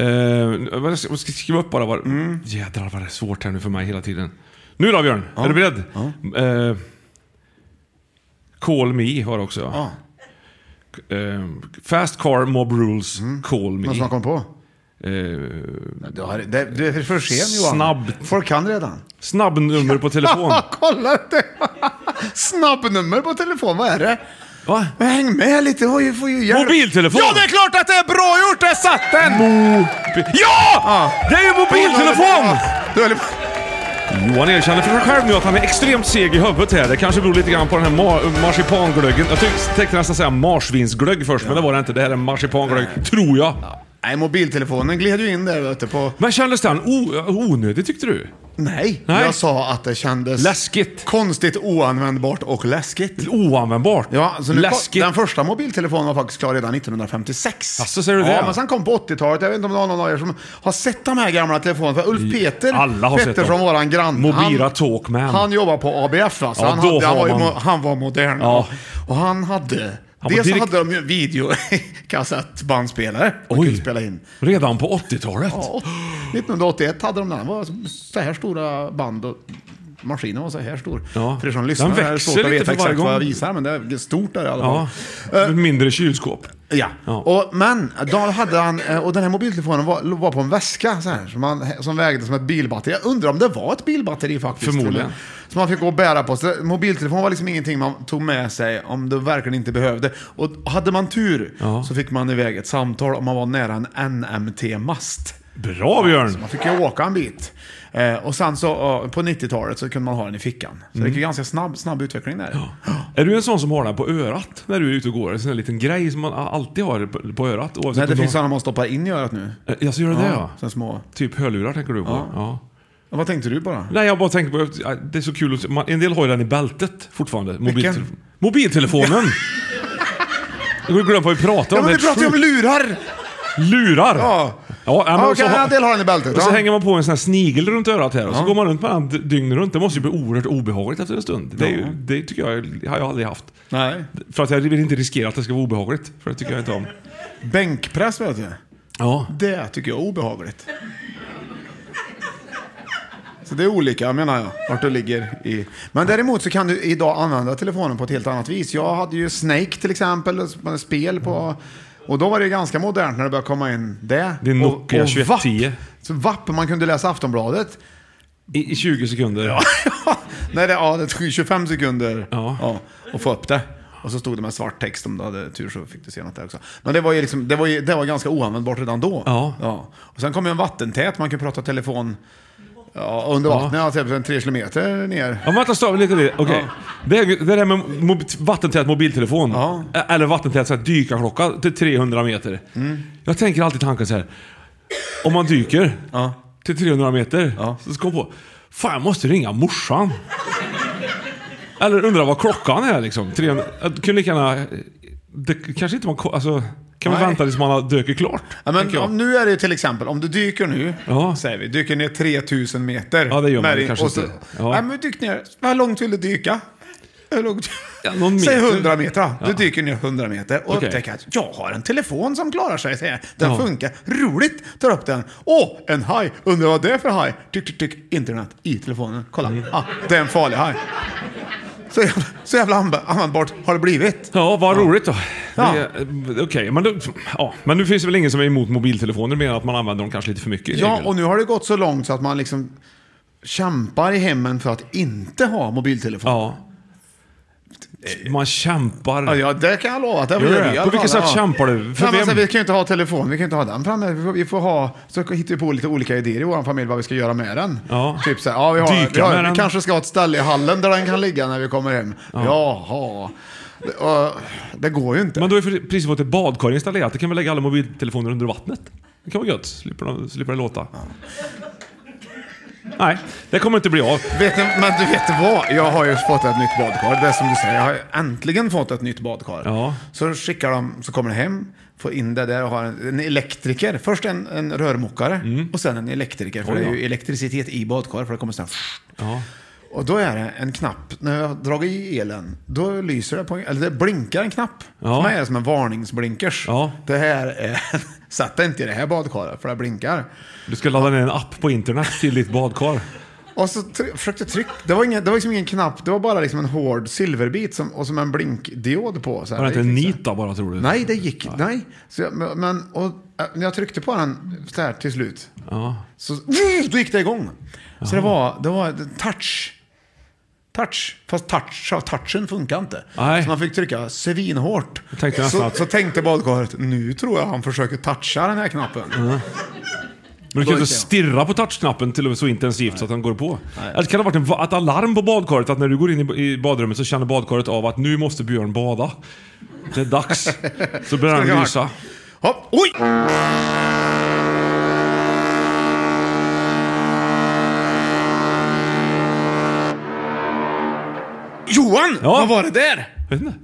Eh, vad ska jag ska skriva upp bara. Var... Jädrar vad det är svårt här nu för mig hela tiden. Nu då Björn, är du beredd? Eh, call me var det också ja. Eh, fast car mob rules, Mm. call me. Någon som har kommit på? Eh, Du, har, det, du är för sen Johan. Snabbt. Folk kan redan. Snabbnummer på telefon. Kolla det! Snabbnummer på telefon, vad är det? Va? Men häng med lite, har ju, får ju hjälp. Mobiltelefon. Ja, det är klart att det är bra gjort! Där satt den! ja! Det är ju mobiltelefon! Du höll- Johan erkänner för sig själv nu att han är extremt seg i huvudet här. Det kanske beror lite grann på den här mar- marsipanglöggen. Jag tyck- tänkte nästan säga marsvinsglögg först, men det var det inte. Det här är marsipanglögg, tror jag. Nej, mobiltelefonen gled ju in där vet du, på... Men kändes den o- onödig tyckte du? Nej, Nej. jag sa att det kändes... Läskigt. Konstigt oanvändbart och läskigt. Oanvändbart? Ja, så nu Läskigt. Den första mobiltelefonen var faktiskt klar redan 1956. Asså, säger du det? Ja, men sen kom på 80-talet. Jag vet inte om det var någon av er som har sett de här gamla telefonerna. För Ulf Peter, Alla har sett Peter dem. från våran granne. Mobira han- Talkman. Han jobbar på ABF va? Så Ja, han, då hade, han, har var ju, man- mo- han var modern. Ja. Och han hade... var dels direkt- hade de ju videokassettbandspelare. De Oj. kunde spela in. Redan på 80-talet? Ja, 1981 hade de den. Det var så här stora band och maskinen var så här stor. Ja. För er som lyssnar är det växer svårt att lite veta för varje exakt vad jag gång. visar, men det är stort där i alla fall. Eh, Ja. Ett Mindre kylskåp. Ja. Och, men då hade han, eh, och den här mobiltelefonen var, var på en väska så här, som, han, som vägde som ett bilbatteri. Jag undrar om det var ett bilbatteri faktiskt. Förmodligen. Eller- Som man fick gå och bära på sig. Mobiltelefon var liksom ingenting man tog med sig om det verkligen inte behövde. Och hade man tur så fick man iväg ett samtal om man var nära en NMT-mast. Bra Björn! Så man fick ju åka en bit. Eh, och sen så eh, på 90-talet så kunde man ha den i fickan. Så Mm. det gick ju ganska snabb, snabb utveckling där. alltså. Är du en sån som har den på örat när du är ute och går? En sån där liten grej som man alltid har på, på örat? oavsett Nej, om det du finns har- sådana man stoppar in i örat nu. Eh, Ja, så gör det det ja. Ja, Sen små. Typ hörlurar tänker du på? Ja. Ja. Ja, Vad tänkte du bara? Nej, jag bara tänker på att ja, det är så kul att se- man, En del har ju den i bältet fortfarande. Mobiltelefon. Mobiltelefonen! Jag har glömt vad vi pratar om. Ja, men Det är vi pratar ju om sjukt. lurar! lurar! Ja. ja, men Ja, och okej, så har- en del har den i bältet. Och så ja. hänger man på en sån här snigel runt örat här och så går man runt med den d- dygnet runt. Det måste ju bli oerhört obehagligt efter en stund. Det, är ju, det tycker jag, har jag aldrig haft. Nej. För att jag vill inte riskera att det ska vara obehagligt. För det tycker jag inte om. Bänkpress vet du. Ja. Det tycker jag är obehagligt. Så det är olika menar jag, vart du ligger i. Men däremot så kan du idag använda telefonen på ett helt annat vis. Jag hade ju Snake till exempel, som ett spel på... Och då var det ju ganska modernt när det började komma in det. Det är Nokia och, och VAP. 2110. Så VAP, man kunde läsa Aftonbladet. I, I 20 sekunder. Nej, det, ja, det tog 25 sekunder Ja. Ja, att få upp det. Och så stod det med svart text om du hade tur så fick du se något där också. Men det var ju, liksom, det var ju det var ganska oanvändbart redan då. Ja. Och sen kom ju en vattentät, man kan prata telefon ja, under vattnet, ja. typ en tre kilometer ner. Ja, men vänta, stopp lite. lite. Okej. Det, är- det där med mob- vattentät mobiltelefon. Ä- Eller vattentät så här dykarklocka till 300 meter. Mm. Jag tänker alltid tanken så här. Om man dyker till 300 meter så ska man på. Fan, jag måste ringa morsan. Eller undra vad klockan är liksom. 300, jag kunde lika gärna... Det kanske inte man... ko- Alltså, kan man Nej. vänta tills man har dyker klart? Ja, men tänker jag. om, nu är det ju till exempel, om du dyker nu, Ja. säger vi, dyker ner 3000 meter. Ja, det gör man Med ju din- kanske och så- inte. Ja. Nej, men du dyker ner. Hur långt vill du dyka? Hur långt? Ja, någon Säg meter. 100 meter. då. Du Ja. dyker ner 100 meter och Okej. upptäcker att jag har en telefon som klarar sig. Säger jag. Den Ja. funkar. Roligt! Tar upp den. Åh, en haj. Undrar vad det är för haj? Tyck, tyck, tyck. Internet i telefonen. Kolla. Mm. Ah, det är en farlig haj. Så jävla, så jävla anv- användbart har det blivit. Ja, vad roligt då. Ja. Det- eh, Okej, men, då- ja, men nu finns det väl ingen som är emot mobiltelefoner mer än att man använder dem kanske lite för mycket. i Ja, regel. och nu har det gått så långt så att man liksom... kämpar i hemmen för att inte ha mobiltelefon. Ja. Man kämpar. Ja, ja, det kan jag lova. att Det Gör gör det? vi i alla På vilket fall, sätt ja. kämpar du? För Nej, men, vem- så, vi kan ju inte ha telefon, vi kan inte ha den framme. Vi får, vi får ha, så hittar vi på lite olika idéer i vår familj vad vi ska göra med den. Ja. Typ så här, ja, vi, har, Dyka vi, har, med vi den. kanske ska ha ett ställe i hallen där den kan ligga när vi kommer hem. Ja. Jaha. Det, och, det går ju inte. Men då har vi precis fått ett badkar installerat. Då kan vi lägga alla mobiltelefoner under vattnet. Det kan vara gött. Slipper, de, slipper det låta. Nej, det kommer inte bli av. Vet ni, men du vet vad? Jag har ju fått ett nytt badkar. Det är som du säger, jag har äntligen fått ett nytt badkar. Så skickar de, så kommer det hem, får in det där och har en, en elektriker. Först en, en rörmokare och sen en elektriker. För Mm. Oj det då. är ju elektricitet i badkar för det kommer sen... Och då är det en knapp. När jag har dragit i elen, då lyser det på en, Eller det blinkar en knapp. Ja. För mig är det som en varningsblinkers. Det här är... Sätt dig inte i det här badkaret, för det blinkar. Du ska ladda ner en app på internet till ditt badkar. Och så try- försökte trycka. Det var, ingen, det var liksom ingen knapp. Det var bara liksom en hård silverbit som, och som en blinkdiod på. Så här. Var det inte Det en gick nit då bara tror du? Nej, det gick. Nej. Så jag, men och, äh, när jag tryckte på den så här till slut. Ja. Så uh, då gick det igång. Så det var, det var touch. Touch. Fast touch, touchen funkar inte. Nej. Så man fick trycka svinhårt. tänkte nästan så, att- så tänkte badkaret, nu tror jag han försöker toucha den här knappen. Men du Då kan ju gick inte det. stirra på touchknappen till och med så intensivt så att den går på. Eller kan det ha varit en, va- ett alarm på badkaret? Att när du går in i, i badrummet så känner badkaret av att nu måste Björn bada. Det är dags. Så börjar Ska den jag- lysa. Hopp, oj! Johan, vad var det där? Vet inte.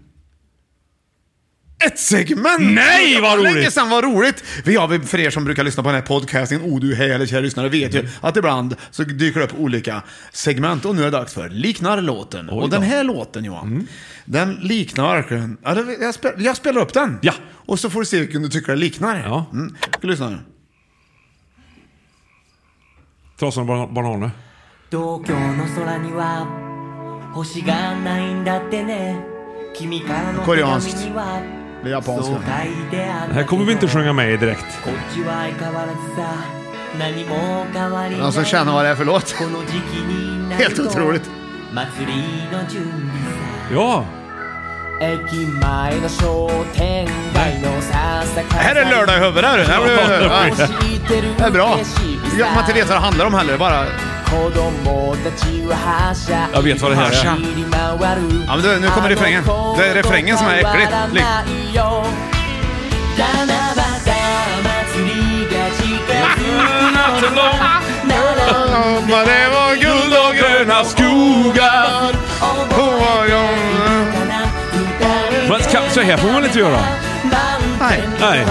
Ett segment! Nej, vad roligt! Länge sedan, vad roligt! Vi har, för er som brukar lyssna på den här podcasten, oh du härliga kära lyssnare, vet Mm. ju att ibland så dyker det upp olika segment och nu är det dags för Liknar låten. och den här låten Johan, Mm. den liknar verkligen... Ja, det- Jag, spel, jag spelar upp den. Ja. Och så får du se vilken du tycker det liknar. Ja. Mm. Ska lyssna nu. Trasan och ban- bananer. 東京の空には星がないんだってね君からの手紙に Koreanskt. は Det är そう japanska. 書いてあっ Det här たけど kommer vi inte sjunga med i direkt. こっちは相変わらずさ何も変わりない Alltså känna vad det är för låt. この時期になる Helt と otroligt. 祭りの準備さ Ja! 駅前の商店街のささか Det här är lördag i huvudet. här, du. Det här blir- Det här är bra. Ja, man inte vet vad det handlar om heller. Bara... Jag vet vad det här är. Ja, men du, nu kommer refrängen. Det är refrängen som är äcklig. Lyck. までも guld och gröna skogar Men ska, så här får man inte göra. Nej. Nej.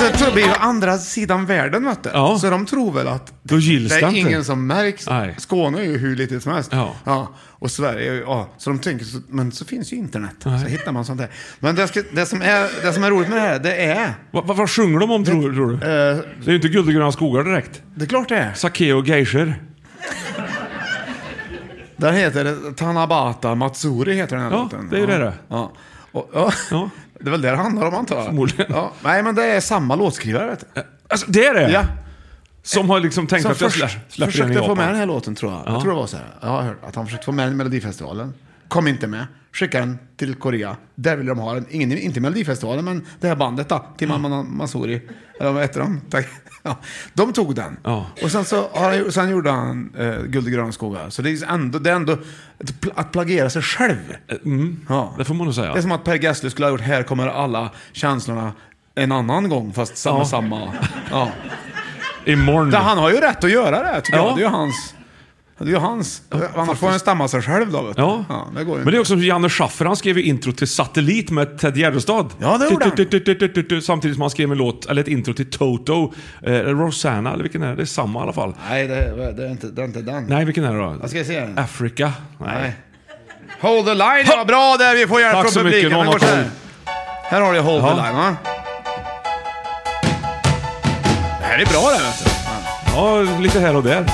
Det tror- blir ju andra sidan världen vet du. Så de tror väl att Då gills det det är inte. ingen som märks. Nej. Skåne är ju hur litet som helst. Ja. Och Sverige, är ju- ja. Så de tänker, så, men så finns ju internet. Så hittar man sånt där. Men det, ska, det, som, är, det som är roligt med det här, det är... Vad, vad, vad sjunger de om tror, tror du? Eh. Det är ju inte guld och gröna skogar direkt. Det är klart det är. Sakeo och geishor. Där heter det Tanabata Matsuri heter den här Ja, låten. det är ju det det. Ja. Och, ja. Det är väl det det handlar om antar jag. Förmodligen. Ja. Nej, men det är samma låtskrivare vet du. Alltså det är det? Ja. Som har liksom tänkt Som att jag först slä- släpper den i försökte få Japan. med den här låten tror jag. Ja. Jag tror det var så här. Jag har hört att han försökte få med den i Melodifestivalen. Kom inte med. Skickade den till Korea. Där ville de ha den. Ingen, inte Melodifestivalen, men det här bandet då. Till Mamma Masuri. Eller vad heter de? Tack. Ja. De tog den. Och sen, så har han, sen gjorde han eh, Guld och gröna skogar. Så det är ändå, det är ändå att, pl- att plagera sig själv. ja. Det får man nog säga. Det är som att Per Gessle skulle ha gjort Här kommer alla känslorna en annan gång, fast samma, Ja. samma. Ja. Imorgon. Det, han har ju rätt att göra det, tycker Ja. jag. Det är ju hans. Det är ju hans. Annars får han stamma sig själv då, vet du. Ja. det går ju Men det är också som Janne Schaffer, han skrev ju intro till Satellit med Ted Gärdestad. Ja, det gjorde han. han. Samtidigt som han skrev en låt, eller ett intro till Toto. Eh, Rosanna, eller vilken är det? Det är samma i alla fall. Nej, det, det, är inte, det är inte den. Nej, Äh. vilken är det då? Jag ska se den. Africa? Nej. Nej. Hold the line, ja, bra där. Vi får hjälp Tack från så publiken. mycket, någon Men har går så koll. här. Här har du Hold Ja. the line, va? Det här är bra det, vet du. Ja, lite här och där.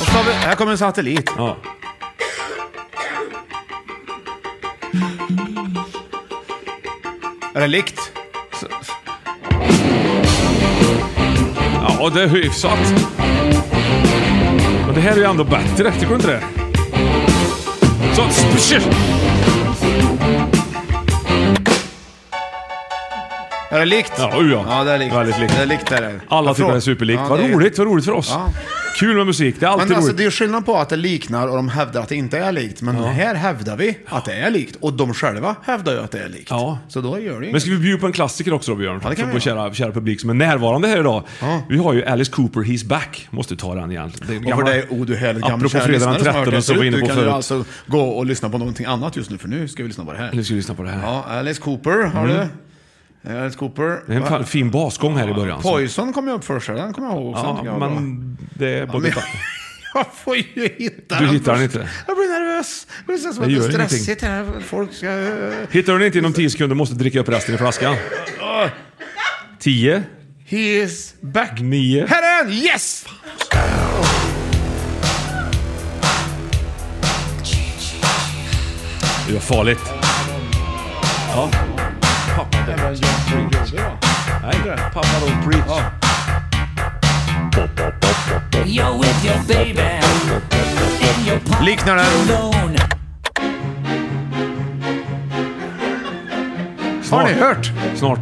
Och så har vi, här kommer en satellit. Ja. Är det likt? Ja, det är hyfsat. Men det här är ju ändå bättre, tycker du inte det? Så, shit. Är det likt? Ja, oj, ja. ja det är likt. Väldigt likt. Det är likt är det. Alla Jag tycker frå- det är superlikt. Ja, vad det är- roligt, vad roligt för oss. Ja. Kul med musik, det är alltid Men alltså, roligt. det är ju skillnad på att det liknar och de hävdar att det inte är likt. Men här hävdar vi att det är likt. Och de själva hävdar ju att det är likt. Så då gör det ju Men inget. ska vi bjuda på en klassiker också då Björn? Ja, det kan För vi vår göra. kära, kära publik som är närvarande här idag. Vi har ju Alice Cooper, He's Back. Måste ta den igen. Det är Och för gamla- dig, oh du härligt gamla Apropå kära fredagen lyssnare den som har hört 13 det som vi var förut. inne Du på kan ju förut. alltså gå och lyssna på någonting annat just nu, för nu ska vi lyssna på det här. Nu ska vi lyssna på det här. Ja, Alice Cooper har Mm. du. Alice Cooper. Det är en Va? fa- fin basgång här i början. så- Poison kom ju upp först, här, den kommer jag ihåg. också, den tycker Ja, jag var bra. men det är både... men- Jag får ju hitta Du den hittar den först. inte. Jag blir nervös. Det känns som Det att det gör är ingenting. stressigt här. Folk ska... Hittar du den inte inom 10 sekunder måste du dricka upp resten i flaskan. 10. He is back. 9. Här är han! Yes! Det var farligt. Ja. Pappa don't preach. Nej, pappa don't preach. You're with your baby in your pocket Liknar alone. Snart. Har ni hört? Snart.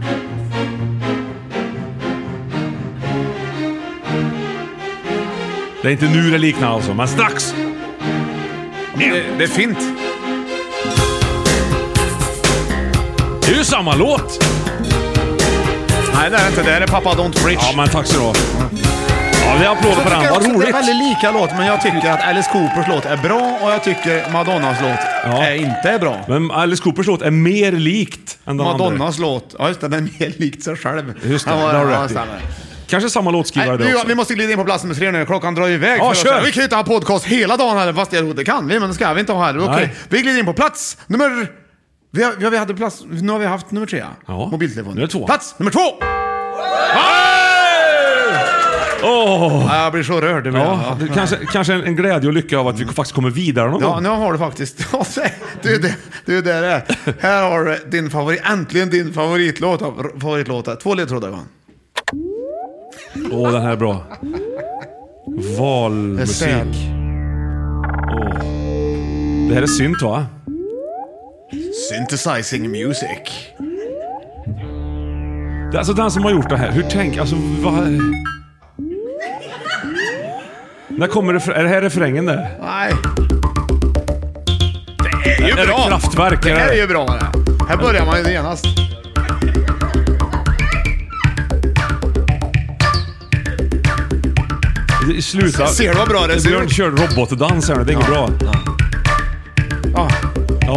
Det är inte nu det liknar alltså, men strax. Det, det är fint. Det är ju samma låt! Nej, det är det inte. Det här är Pappa Don't Preach. Ja, men tack så du ha. Ja, vi applåder på Jag den. tycker Vad också att Det är roligt! väldigt lika låt, men jag tycker att Alice Coopers låt är bra och jag tycker Madonnas låt är inte bra. Men Alice Coopers låt är mer likt än den andra. Madonnas låt, ja just det, den är mer likt sig själv. Just det, Ja, det har du ja, rätt i. stämmer. Kanske samma låtskrivare Nej, det du, också. vi måste glida in på plats nummer tre nu, klockan drar ju iväg. Ja, för oss kör! här. Vi kan ju inte ha podcast hela dagen heller, fast jag tror det kan vi, men det ska vi inte ha heller. Okej, Nej. vi glider in på plats nummer... Vi har, ja, vi hade plats, nu har vi haft nummer tre, ja. Mobiltelefon. Nu är det två. Plats nummer två! Åh! Ja, jag blir så rörd. det blir jag. Ja, det kanske, kanske en, en glädje och lycka av att vi faktiskt kommer vidare någon Ja, gång. nu har du faktiskt... Ja, se, det är ju det det, är ju det, det är. Här har du din favorit, äntligen din favoritlåt. favoritlåt. Två ledtrådar Johan. Åh, den här är bra. Valmusik. Det är säl. Åh. Det här är synt va? Synthesizing music. Det är alltså den som har gjort det här. Hur tänk, alltså vad... När kommer det, är det här refrängen där? Nej. Det är ju Är det bra! kraftverk, Det är här det? är ju bra det. Här börjar man ju genast. Det- Sluta. Ser du vad bra det ser Björn ut? kör robotdans här nu. Det är inget bra. Ja.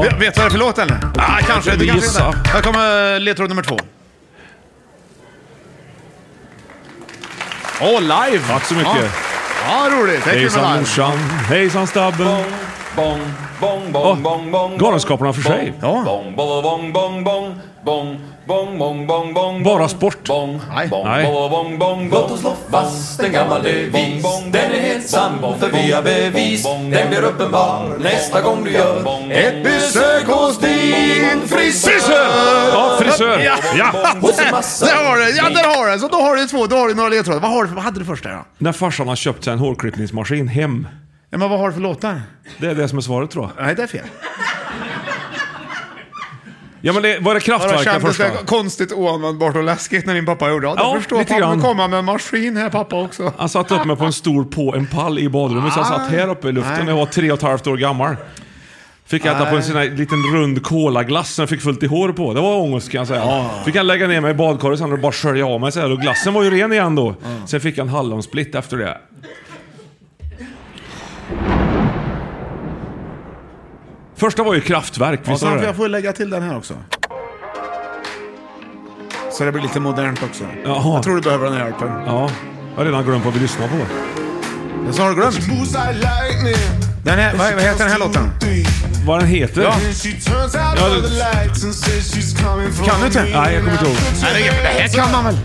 Vet- Vet du vad det är för låt eller? Ah, kanske. kan Du kanske gissa. inte. Här kommer ledtråd nummer två. Åh, live! Tack så mycket. Ja, ja roligt. Det är kul med Hejsan live. morsan. Hejsan stabben. Bong, bong, bong, bong, bong. Galenskaparna för sig. Ja. Bong, bong, bong, bong, bong. Bong, bong, bong, bong, bong. Bara sport. Bong, Nej. bong, Nej. bong, bong, bong. Låt oss slå fast en gammal devis. Den är helt sann, för vi har bevis. Den blir uppenbar nästa gång du gör ett besök hos din Frisör! Ja, frisör. Ja. Där har du Ja, där har du Så då har du två. Då har du några ledtrådar. Vad, har du för, vad hade du först där då? När farsan har köpt sig en hårklippningsmaskin hem. Ja, men vad har du för låtar? Det är det som är svaret tror jag. Nej, det är fel. Ja men det, var det Jag kraftverken kändes första? det konstigt oanvändbart och läskigt när din pappa gjorde det. Ja, Ja, förstår lite fan. Han grann. komma med en maskin här pappa också. Han satte upp mig på en stol på en pall i badrummet, så jag Ah, satt här uppe i luften. Jag var tre och ett halvt år gammal. Fick äta Ah. på en sån här liten rund kolaglass som jag fick fullt i hår på. Det var ångest kan jag säga. Ah. Fick han lägga ner mig i badkaret sen och bara skölja av mig så här. Och glassen var ju ren igen då. Ah. Sen fick jag en hallonsplitt efter det. Första var ju kraftverk, Och visst sen var får det? jag få lägga till den här också. Så det blir lite modernt också. Jaha. Jag tror du behöver den här hjälpen. Ja. Jag har redan glömt vad vi lyssnar på. Den har du glömt. Den här, vad, vad heter den här låten? Vad den heter? Ja. Ja, det- Kan du inte? Nej, jag kommer inte ihåg. Nej, det, det här kan man väl?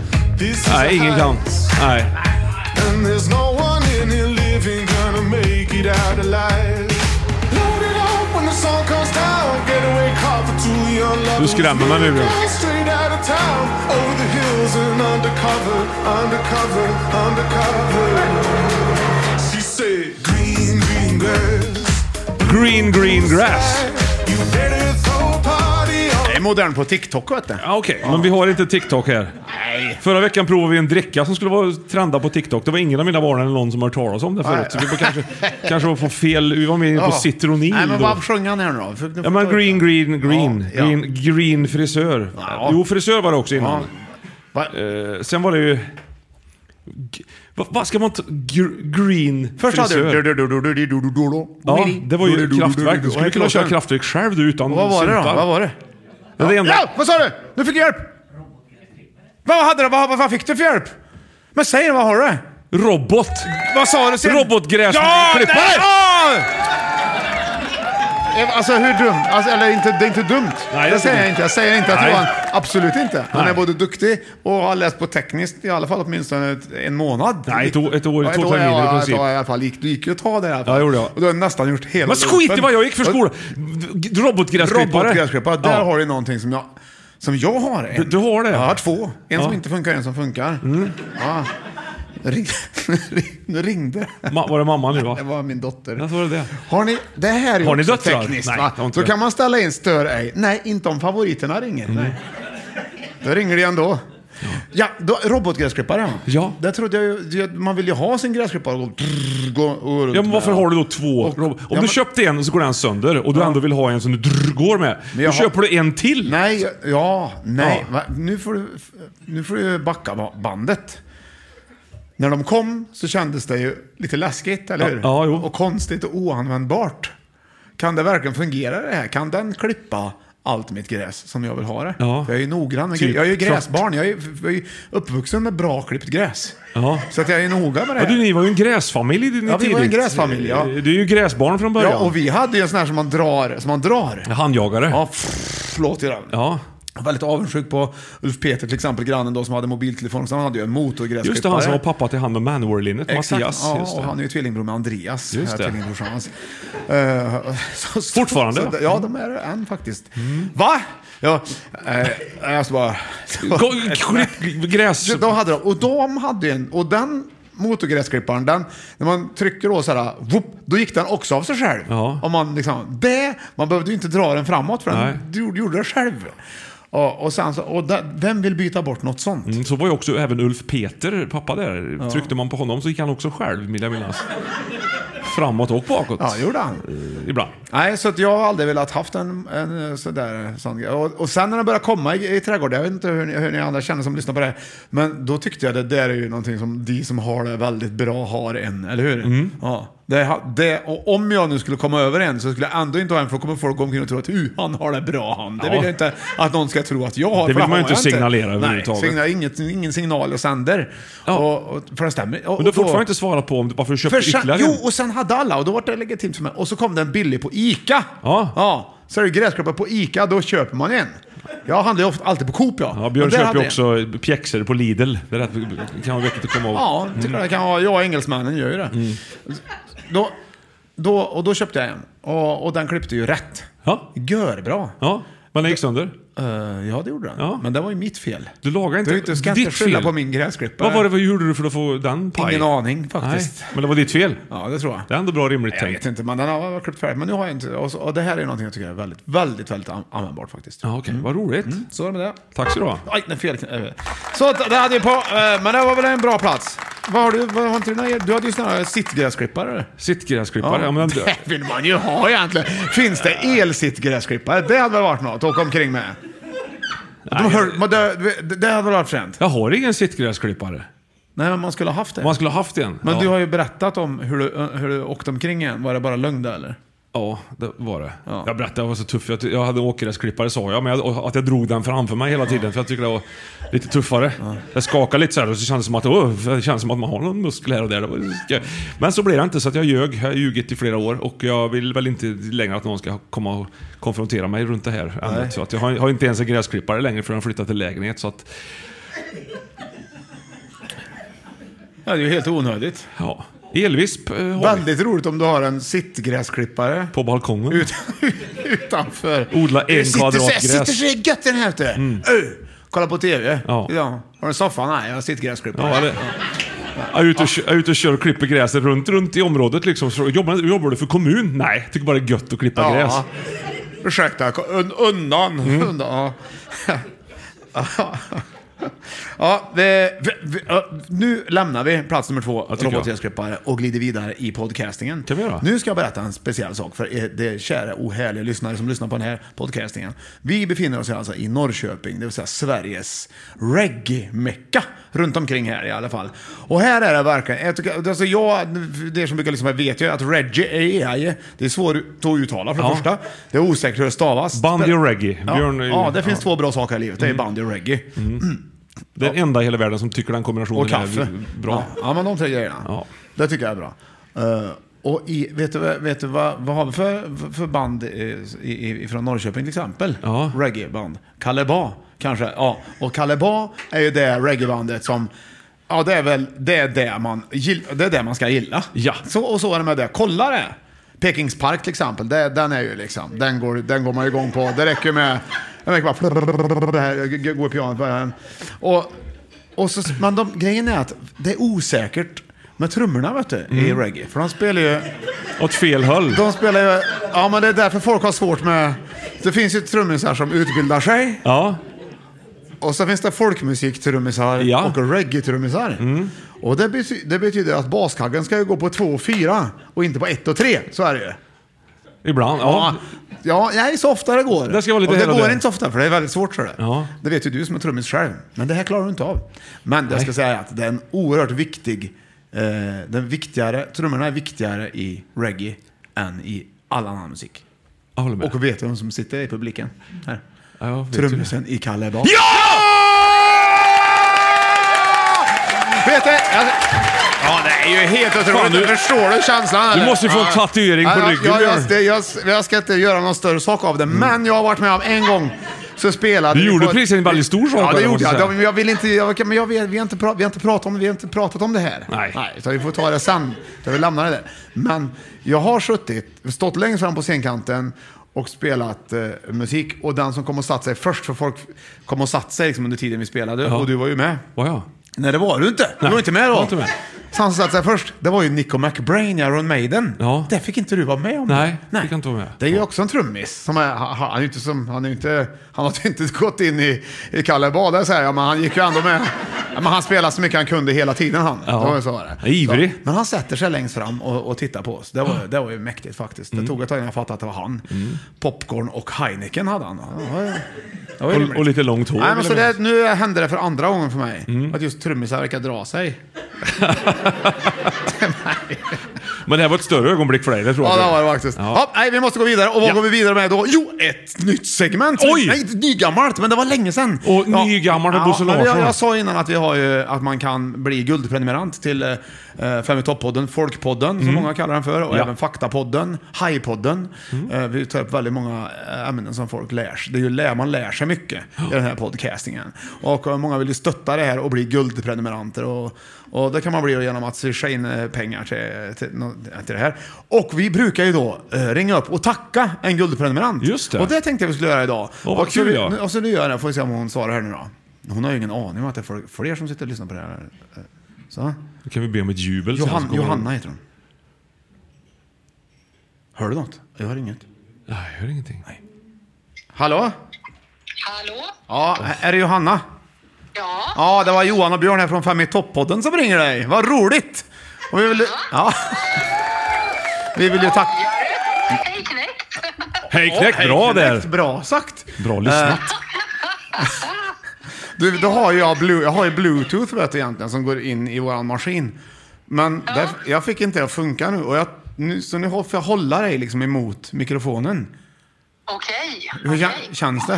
Nej, ingen kan. Nej. And there's no one in here living gonna make it out alive. Load it up when the sun comes down. Getaway car for two young lovers. Du skrämmer mig nu, Björn. Straight out of town, over the hills and undercover, undercover, undercover. She Green Green Grass. Det är modern på TikTok vet du. Ja, Okej, men vi har inte TikTok här. Nej. Förra veckan provade vi en dricka som skulle vara trenda på TikTok. Det var ingen av mina barn eller någon som har hört talas om det förut. Så vi var kanske, kanske var på fel... Vi var mer inne på Ja. citronil Nej, men då. vad sjöng han här nu då? För- Ja men green, green, green. Ja, ja. Green, green frisör. Jo, frisör var det också innan. Eh, sen var det ju... G- Vad vad ska man ta... Gr- green Först hade frisör. du... Ja, det var ju kraftverk. Du skulle kunna köra kraftverk själv du utan Vad var det då? sympar. Vad var det? Det är det enda. Ja, vad sa du? Nu fick jag hjälp! Vad hade du? Vad, vad fick du för hjälp? Men säg nu, vad har du? Robot. Vad sa du sen? Ja! Robotgräsklippare! nej, ja! Eh, Alltså hur dumt? Alltså, eller inte, det är inte dumt. är det inte säger dumt. jag inte. Jag säger inte att Nej. Johan... Absolut inte. Han Nej. är både duktig och har läst på tekniskt i alla fall åtminstone ett- en månad. Nej, ett år- ett år- Ja, två terminer ja, i princip. Ett år i alla fall. Gick- Du gick ju ett tag där i alla fall. Ja, gjorde jag. Och du har nästan gjort hela Men skit i vad jag gick för skola! D- Robotgräsklippare. Robotgräsklippare. Där Ja. har du någonting som jag... Som jag har en. Du, du har det? Jag har två. En Ja. Mm. som inte funkar, en som funkar. Ja. Ring, nu ringde Ma, Var det mamma nu va? Det var min dotter. Ja, så var det det. Har ni, det här är Har ni också döttrar? Mm. tekniskt Nej, va? jag har inte Då det. kan man ställa in stör ej. Nej, inte om favoriterna ringer. Nej. Då ringer det ändå. Ja, då, robotgräsklippare. Ja. Där trodde jag ju, det- man vill ju ha sin gräsklippare och gå, drrr, gå och runt Ja, men varför med. har du då två? Rob- Om ja, du men- köpte en och så går den sönder och du ändå vill ha en som du drr, går med. Men Då jag har- köper du en till. Nej, ja, nej. Va? Nu, får du, nu får du backa ba- bandet. När de kom så kändes det ju lite läskigt, eller Ja, hur? ja, jo. Och konstigt och oanvändbart. Kan det verkligen fungera det här? Kan den klippa allt mitt gräs som jag vill ha det? Ja. Jag är ju noggrann med Typ gre- Jag är ju klart. gräsbarn. Jag är, ju- jag är ju uppvuxen med bra klippt gräs. Ja. Så att jag är noga med det Ja, här. du, ni var ju en gräsfamilj i din Ja, vi var en tidigt. gräsfamilj, ja. Du är ju gräsbarn från början. Ja, och vi hade ju en sån här som man drar. Som man drar. Handjagare. Ja, pff, låter ju den. Ja. Jag var väldigt avundsjuk på Ulf Peter till exempel, grannen då som hade mobiltelefon. Så han hade ju en motorgräsklippare. Just det, han som var pappa till han med Manowar-linnet, Exakt, Mattias. ja, just och det. han är ju tvillingbror med Andreas. Just det. Tvillingbrorsan hans. Eh, så- så- Fortfarande? Mm. Så, ja, de är det än faktiskt. Va? Ja, eh, jag ska bara... Gå- klipp gräs... De hade de, och de hade ju en, och den motorgräsklipparen, den, när man trycker då så här, whoop, då gick den också av sig själv. Om man, liksom, det, man behövde ju inte dra den framåt för Nej. den du gjorde- gjorde det själv. Och, och sen så, och där, vem vill byta bort något sånt? Mm, så var ju också även Ulf Peter, pappa där. Ja. Tryckte man på honom så gick han också själv, vill jag minnas. Framåt och bakåt. Ja, gjorde han. Eh, Ibland. Nej, så att jag har aldrig velat haft en, en eh, sådär sån grej. Och, och sen när den började komma i, i trädgården, jag vet inte hur ni, hur ni andra känner som lyssnar på det, här, men då tyckte jag det där är ju någonting som de som har det väldigt bra har en, eller hur? Mm. Ja. Det, ha- det, och om jag nu skulle komma över en så skulle jag ändå inte ha en för då kommer folk omkring och tro att uh, han har det bra han. Det Ja. vill jag inte att någon ska tro att jag har. Det för vill man ju har inte jag signalera Nej, överhuvudtaget. signal, inget, ingen signal och sänder. Och, och, för det stämmer. Men du Och, har och då- fortfarande inte svarat på om du, varför du köpte för sen, ytterligare Jo, en. och sen hade alla och då var det legitimt för mig. Och så kom den billig på ICA. Ja. ja. Så är det gräsklippare på ICA, då köper man en. Jag handlar ju ofta, alltid på Coop ja. Ja, Björn Och där köper hade ju jag en. också pjäxor på Lidl. Det där kan vara vettigt att komma ihåg. Ja, tycker jag det kan vara. Jag och engelsmännen gör ju det. Mm. Då, då, och då köpte jag en. Och, och den klippte ju rätt. Ja. Görbra. Ja, men den gick sönder. Eh, ja, det gjorde den. Ja. Men det var ju mitt fel. Du lagade inte... Du inte- ska inte ditt skylla fel. på min gräsklippare. Vad var det, vad gjorde du för att få den paj? Ingen aning faktiskt. Nej, men det var ditt fel. Ja, det tror jag. Det är ändå bra rimligt Jag tänkt. vet inte, men den har jag klippt färdigt. Men nu har jag inte... Och, så, och det här är någonting jag tycker är väldigt, väldigt, väldigt an- användbart faktiskt. Ja, okej. Vad roligt. Så är det med det. Tack så du ha. Aj, nej, fel. eh, Så att det hade vi på. eh, Men det var väl en bra plats. Vad har du? Vad har inte du, du hade ju såna här sittgräsklippare. eller? Sittgräsklippare. Ja, men den, det vill man ju ha egentligen. Finns det elsittgräsklippare? Det hade väl varit något att åka omkring med. De hör, men det, det- det hade väl varit fränt? jag har ingen sittgräsklippare. Nej, men man skulle ha haft det. Man skulle ha haft en. Men ja. du har ju berättat om hur du, eh, hur du åkte omkring igen. Var det bara lögn där eller? Ja, det var det. Jag berättade, jag var så tuff. Jag, jag hade åkgräsklippare sa jag, men jag, och att jag drog den framför mig hela tiden för jag tyckte det var lite tuffare. Jag skakade lite så här och så kändes det som att, åh, det kändes som att man har någon muskel här och där. Det var- jag- Men så blev det inte, så att jag ljög. Jag har ljugit i flera år och jag vill väl inte längre att någon ska komma och konfrontera mig runt det här ämnet. Nej. Så att jag har, har inte ens en gräsklippare längre för jag flyttat till lägenhet. Så att, Ja, det är ju helt onödigt. ja. Elvisp eh, har vi. Väldigt roligt om du har en sittgräsklippare. På balkongen. Ut, utanför. Odla en sitter så- kvadrat gräs. Sitter så här gött i den här ute. Mm. Ö, kolla på TV. Ja. Har du en soffa? Nej, jag har sittgräsklippare. Ja, eller, Jag är ute och, kö- jag är ute och kör och klipper gräset runt, runt i området liksom. Så jobbar, jobbar du för kommun? Nej, jag tycker bara det är gött att klippa Ja. gräs. Mm. Ursäkta, un, undan. undan. Ja. ja, det, vi, vi, ja, nu lämnar vi plats nummer två, tycker jag. robotgräsklippare, och glider vidare i podcastingen. Kan vi göra? Nu ska jag berätta en speciell sak för er- det är kära ohärliga lyssnare som lyssnar på den här podcastingen. Vi befinner oss alltså i Norrköping, det vill säga Sveriges reggae-mecka runt omkring här i alla fall. Och här är det verkligen, jag tycker, alltså jag, det som brukar liksom, vet ju att reggae är, det är svårt att uttala för det Ja. första. Det är osäkert hur det stavas. Bandy och reggae. Ja, Björn är ju- ja det finns ja. två bra saker i livet. Det är Mm. bandy och reggae. Den enda i hela världen som tycker den kombinationen Och kaffe. är bra. Ja, ja men de tre grejerna. Det tycker jag är bra. Eh, och i, vet du, vet du vad, vad har vi för, för band eh, i, i, från Norrköping till exempel? Reggaeband. Kalle Ba kanske. Ja. Och Kalle Ba är ju det reggaebandet som Ja, det är väl det, är det, man, gill, det, är det man ska gilla. Ja. Så, och så är det med det. Kolla det! Pekingspark till exempel, det, den är ju liksom, den går, den går man ju igång på. Det räcker ju med, det räcker bara, det här, g- går i pianot på den. Och, och så, men de, grejen är att det är osäkert med trummorna vet du, i Mm. reggae. För de spelar ju... Åt fel håll. De spelar ju... Ja, men det är därför folk har svårt med... Det finns ju trummisar som utbildar sig. Ja. Och så finns det folkmusiktrummisar och reggae-trummisar. Mm. Och det, bety- det betyder att baskaggen ska ju gå på 2 och 4 och inte på 1 och 3. Så är det ju. Ibland, ja. Ja, nej, så ofta det går. Det ska vara lite och det här och går där. inte så ofta, för det är väldigt svårt. Så det. Ja. det vet ju du som är trummis själv. Men det här klarar du inte av. Men jag ska säga att det är en oerhört viktig... Eh, den viktigare, trummorna är viktigare i reggae än i all annan musik. Och vet du vem som sitter i publiken? Här. vet ju Trummisen i Kalle Bak. Vet du, jag, Ja, det är ju helt otroligt. Fan, du- Förstår du känslan? Du eller? måste ju få en Ja. tatuering på Ja, jag- ryggen, Jag, Björn. Mm. jag, jag, jag ska inte göra någon större sak av det, men jag har varit med om en gång så spelade Du vi gjorde på- precis en väldigt stor sak Ja, av det det, gjorde måste jag. jag säga. Men jag vill inte... Jag, men jag, vi, vi, har inte pra, vi, har inte pratat om, vi har inte pratat om det här. Nej. Nej utan vi får ta det sen. Utan vi lämnar det där. Men jag har suttit, stått längst fram på scenkanten och spelat eh, musik. Och den som kom och satt sig först, för folk kom och satt sig liksom, under tiden vi spelade. Ja. Och du var ju med. Var jag? Nej, det var du inte. Du var inte med då. Så han som satte sig först, det var ju Nico McBrain i Iron Maiden. Ja. Det fick inte du vara med om. Nej, Nej. fick jag inte vara med. Det är ju också en trummis. Som är, han, han, är ju inte som, han, är ju inte, han har ju inte gått in i, i Kalle Bada så här, ja, men han gick ju ändå med. Ja, men han spelade så mycket han kunde hela tiden han. Ja. Det var ju så var det. Ja, ivrig. Så, men han sätter sig längst fram och, och tittar på oss. Det var, det var ju mäktigt faktiskt. Mm. Det tog ett tag innan jag fattade att det var han. Popcorn och Heineken hade han. Det var ju- det var ju Och, rimligt. och lite långt hår. Nej, men så eller? Mm. det, nu hände det för andra gången för mig. Att just trummisar verkar dra sig. Men det här var ett större ögonblick för dig, det tror Ja, jag. det var det faktiskt. Ja. nej, vi måste gå vidare. Och vad Ja. går vi vidare med då? Jo, ett nytt segment! Oj! Nej, ett nygammalt, men det var länge sedan. Och nygammalt med Bosse men Larsson. Jag, jag sa innan att, vi har ju, att man kan bli guldprenumerant till eh, Fem i topp-podden, Folkpodden, som Mm. många kallar den för, och Ja. Mm. även Faktapodden, Hajpodden. Eh, vi tar upp väldigt många eh, ämnen som folk lär sig. Det är ju lär, man lär sig mycket i den här podcastingen. Och eh, många vill ju stötta det här och bli guldprenumeranter. Och, och det kan man bli genom att swisha in eh, pengar till, till, nå- till det här. Och vi brukar ju då eh, ringa upp och tacka en guldprenumerant. Just det. Och det tänkte jag vi skulle göra idag. Åh, vad och kul, så, vi- ja. nu- Och så nu gör jag det, får vi se om hon svarar här nu då. Hon har ju ingen aning om att det är fol- fler som sitter och lyssnar på det här. Eh, Så. Då kan vi be om ett jubel sen, Johan, så kommer Johanna de- heter hon. Hör du något? Jag hör inget. Nej, jag hör ingenting. Hallå? Hallå? Ja, är det Johanna? Ja. Ja, det var Johan och Björn här från Fem i topp-podden som ringer dig. Vad roligt! Och vi vill... Ja. Vi vill ju tacka... Hej knäckt! Hej knäckt, bra knäckt, där. Bra sagt! Bra Eh. lyssnat. Du, då har ju jag, blu, jag har ju bluetooth vet du, egentligen som går in i våran maskin. Men där, jag fick inte det att funka nu. Och jag, nu så nu hå- får jag hålla dig liksom emot mikrofonen. Okej. Eh, Hur kä- känns det?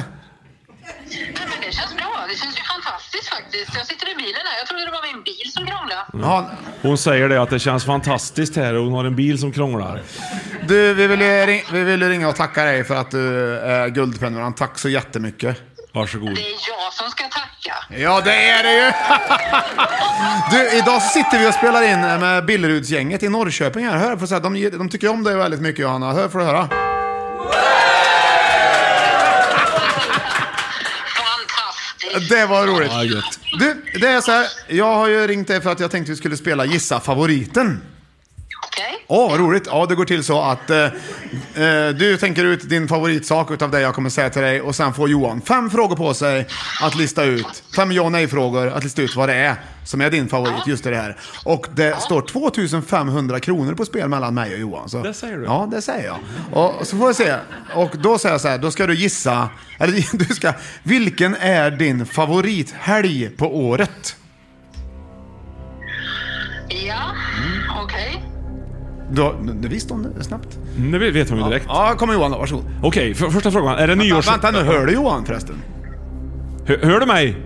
Nej, men det känns bra. Det känns ju fantastiskt faktiskt. Jag sitter i bilen här. Jag trodde det var min bil som krånglade. Hon säger det att det känns fantastiskt här och hon har en bil som krånglar. Du, vi vill, ju ring, vi vill ju ringa och tacka dig för att du är guldprenumerant. Tack så jättemycket. Varsågod. Det är jag som ska tacka. Ja, det är det ju! Du, idag så sitter vi och spelar in eh, med Billerudsgänget i Norrköping här. Hör, får säga, de, de tycker om dig väldigt mycket Johanna. Hör, får du höra. Fantastiskt. Det var roligt. Du, det är så här. Jag har ju ringt dig för att jag tänkte vi skulle spela Gissa favoriten. Okej. Åh, vad roligt. Ja, det går till så att eh, eh, du tänker ut din favoritsak utav det jag kommer säga till dig och sen får Johan fem frågor på sig att lista ut. Fem ja och nej-frågor att lista ut vad det är som är din favorit just i det här. Och det står 2500 kronor på spel mellan mig och Johan. Så, det säger du? Ja, det säger jag. Och så får vi se. Och då säger jag så här, då ska du gissa, eller du ska, vilken är din favorithelg på året? Ja, okej. Då, det visste hon det snabbt. Nu vet hon ju direkt. Ja, kommer Johan då. Varsågod. Okej, för, första frågan. Är det Vänta, nyårs... vänta nu, hör du Johan förresten? Hör, hör du mig?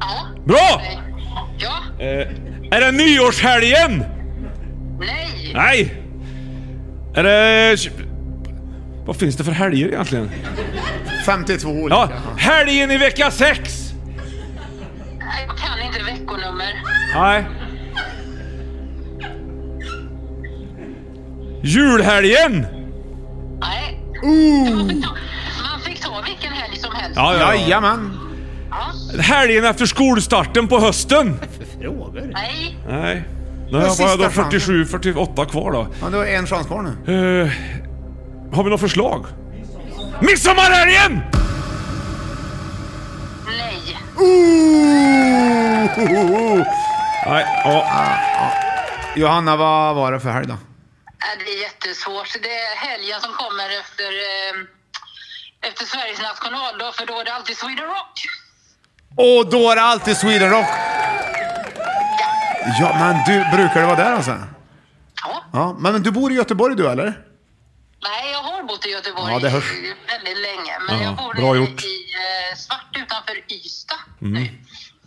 Ja. Bra! Ja. är det nyårshelgen? Nej. Nej. Är det... Vad finns det för helger egentligen? 52 olika. Ja, helgen i vecka 6! Nej, Jag kan inte veckonummer. Nej. Julhelgen! Nej. Man fick ta- Man fick ta vilken helg som helst. Jajamän. Helgen efter skolstarten på hösten. Frågor? Nej. Nej. Det Då var har jag sista då 47, 48 kvar då. Ja, du har en chans kvar nu. Eh, har vi något förslag? Midsommarhelgen! Nej. Nej, Johanna, vad var det för helg då? Nej, Äh, Det är jättesvårt. Det är helgen som kommer efter, eh, efter Sveriges nationaldag, för då är det alltid Sweden Rock. Och då är det alltid Sweden Rock. Ja, men du, brukar det vara där alltså? Ja. ja men, men du bor i Göteborg du eller? Nej, jag har bott i Göteborg Ja, det hörs. väldigt länge, men Ja, jag bor bra i, gjort. Mm. i eh, Svart utanför Ystad.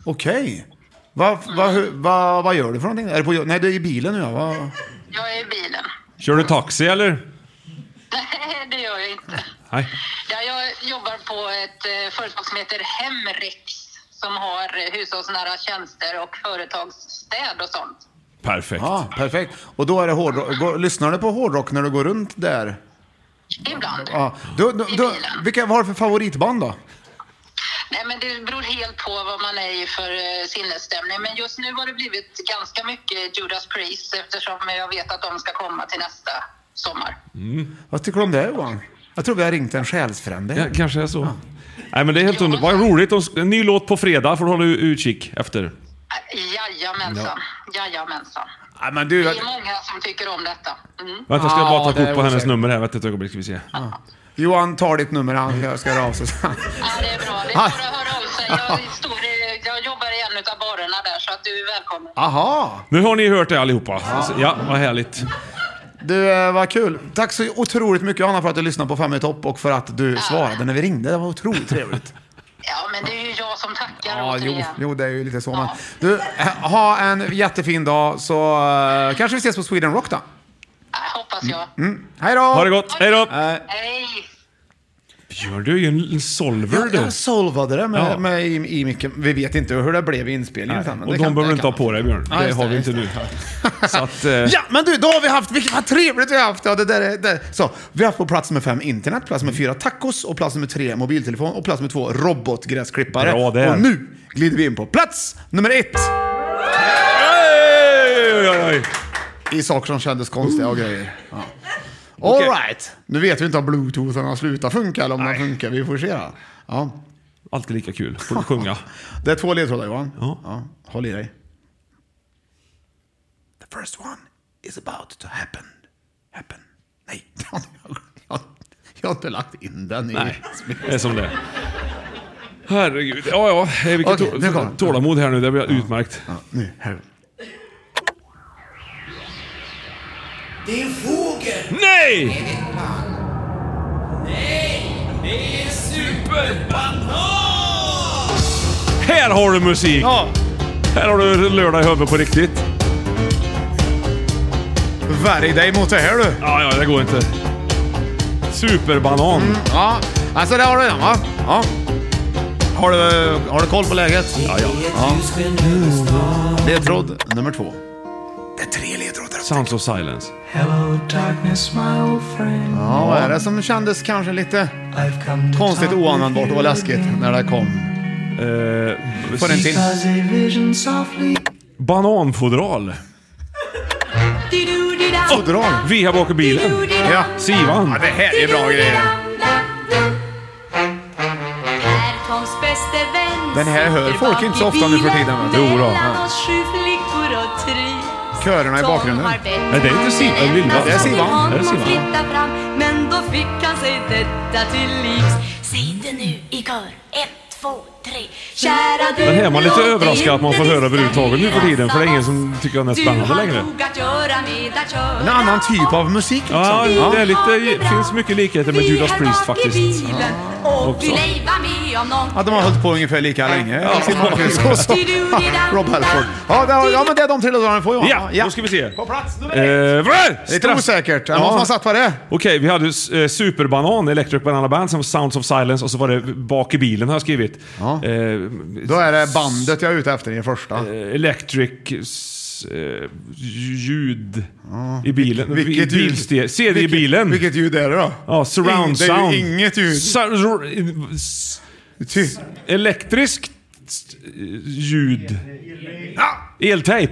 Okej. Vad vad hu- vad- vad gör du för någonting? Är du på, jo- nej, du är i bilen nu ja. Vad- Jag är i bilen. Kör du taxi eller? Nej, det gör jag inte. Nej. Ja, jag jobbar på ett eh, företag som heter Hemrex som har eh, hushållsnära tjänster och företagsstäd och sånt. Perfekt. Ja, perfekt. Och då är det hårdrock. Går, lyssnar du på hårdrock när du går runt där? Ibland. Ja. Du, du, du, vilka var det för favoritband då? Nej, men det beror helt på vad man är i för eh, sinnesstämning. Men just nu har det blivit ganska mycket Judas Priest eftersom jag vet att de ska komma till nästa sommar. Vad tycker du om det Johan? Jag tror vi har ringt en själsfrände. Ja, kanske är så. Nej men det är helt underbart. Vad roligt. Och s- En ny låt på fredag får du hålla u- utkik efter. Jajamensan. Jajamensan. Ja, men det är många som tycker om detta. Mm. Vänta, jag ska bara ta Ja, det är kort på hennes osäkert. nummer här. Vänta ett ögonblick ska vi se. Johan tar ditt nummer, han ska- ska höra av sig. Ja, det är bra. Det är bara att höra av sig. Jag, står i, jag jobbar i en av barerna där så att du är välkommen. Aha! Nu har ni hört det allihopa. Ja, vad härligt. Du, eh, vad kul. Tack så otroligt mycket Anna för att du lyssnade på Fem i topp och för att du svarade när vi ringde. Det var otroligt trevligt. Ja, men det är ju jag som tackar Ja, jo, återigen. jo, det är ju lite så. Men. Du, eh, ha en jättefin dag så eh, kanske vi ses på Sweden Rock då. Hoppas jag. Mm. Hej då! Ha det gott. Hej då! Hej! Björn, du är ju en- en solver Jag, du. jag solvade det med, Ja. med i, i micken. Vi vet inte hur det blev i inspelningen. utan Och det de kan- behöver du det inte kan- ha på dig Björn. Ja, det just har vi det, inte nu. Så att... eh, Ja, men du, då har vi haft, vilket, vad trevligt vi har haft! Ja, det där är, det. Så, vi har haft på plats nummer fem internet, plats nummer fyra tacos och plats nummer tre mobiltelefon och plats nummer två robotgräsklippare. Bra där. Och nu glider vi in på plats nummer ett! I saker som kändes konstiga och grejer. Ja. All Okej. right. Nu vet vi inte om bluetoothen har slutat funka eller om den funkar. Vi får se. då. Ja. Alltid lika kul. Får du sjunga. Det är två ledtrådar Johan. Ja, håll i dig. The first one is about to happen. Happen. Nej, jag, jag har inte lagt in den i... Nej, det är som det är. Herregud. Ja, ja. eh, Vilket Okej, nu kommer tå- tålamod här nu. Det blir utmärkt. nu, här. Det är en fågel! Nej! Det är superbanan! Här har du musik! Här har du lördag i huvudet på riktigt. Värj dig mot det Mm. här du. Ja, ja, det går inte. Superbanan. Ja, alltså där har du den va? Ja. Har du, har du koll på läget? Ja, ja. Ledtråd nummer två. Sounds of silence. Hello darkness my old friend Ja, vad är det som kändes kanske lite konstigt, oanvändbart och läskigt när det kom? Eh, Får en till. a vision softly. Bananfodral. Fodral? Via bak i bilen. Ja. Sivan. Ja, det här är bra grejer. Är Toms bäste vän Den här hör sitter folk bak inte i så ofta nu för bilen tiden, va? Jo då. mellan Ja. oss sju flickor och trivs. Körerna i Tom bakgrunden. har bett Nej, det är inte Siv- henne det är Ylva. att Det är Sivan. honom Det är Sivan. flytta fram, Men då fick han sig detta till livs. Säg det nu i kör. Ett, två, tre. Kära du, Den här är man lite låt dig överraskad att man får inte höra överhuvudtaget nu för tiden. För det är ingen som tycker den är spännande längre. Du har nog att göra med att köra. En annan typ av musik Ja, liksom. det är lite, det finns mycket likheter med Judas Priest faktiskt. Och Också. vill ej vara med om någon Ja, de har hållit på ungefär lika länge. Ja. Sid Marcus och så- Rob Halford. Ja, det, ja, men det är de tre låtarna vi får Johan. Ja, då ska vi se. På plats nummer Eh, vrä! Lite Straff- osäkert. Någon som har satt vad det är. Okej, vi hade eh, Superbanan, Electric Banana Band, som Sounds of Silence och så var det Bak i bilen har jag skrivit. Eh, Då är det bandet jag är ute efter i den första. electric s- eh, ljud i bilen. vilket- I vilket ljud? bilste- CD i Vilket- bilen. vilket ljud är det då? Ja, surround Ing- det är ju sound. inget ljud. Sur- s- s- elektriskt s- ljud. Eltejp.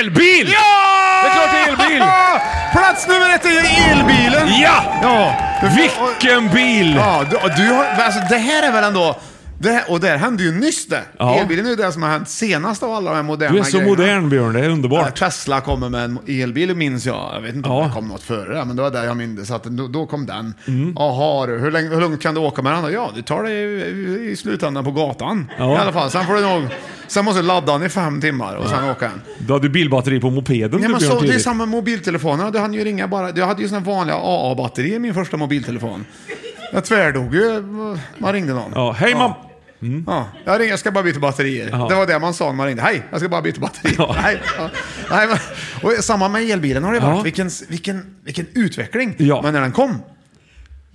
Elbil! Ja! Det är klart det är elbil! Plats nummer ett är elbilen! Ja! ja. Vilken bil! Ja, du, du har, alltså, det här är väl ändå... Det här, och det här hände ju nyss det. Ja. Elbilen är ju det som har hänt senast av alla de här moderna Du är så grejerna. modern Björn, det är underbart. Tesla kommer med en elbil minns jag. Jag vet inte om det kom något före det, men det var där jag minns att då, då kom den. Mm. Jaha, du, hur, länge, hur långt kan du åka med den? Ja, du tar dig i, i slutändan på gatan. Ja. I alla fall, sen får du nog... Sen måste du ladda den i fem timmar och sen åka den. Du hade ju bilbatteri på mopeden Nej, du, men Björn, så, det är tidigt. samma med mobiltelefonerna. Du hann ju ringa bara. Jag hade ju såna vanliga AA-batterier i min första mobiltelefon. Jag tvärdog ju. eh, Man ringde någon. Ja, hej mam! Ja, jag, ringde, jag ska bara byta batterier. Ja. Det var det man sa när man ringde. Hej, jag ska bara byta batterier. Nej, ja. Nej, men, och samma med elbilen har det Ja. varit. Vilken, vilken, vilken utveckling. Ja. Men när den kom,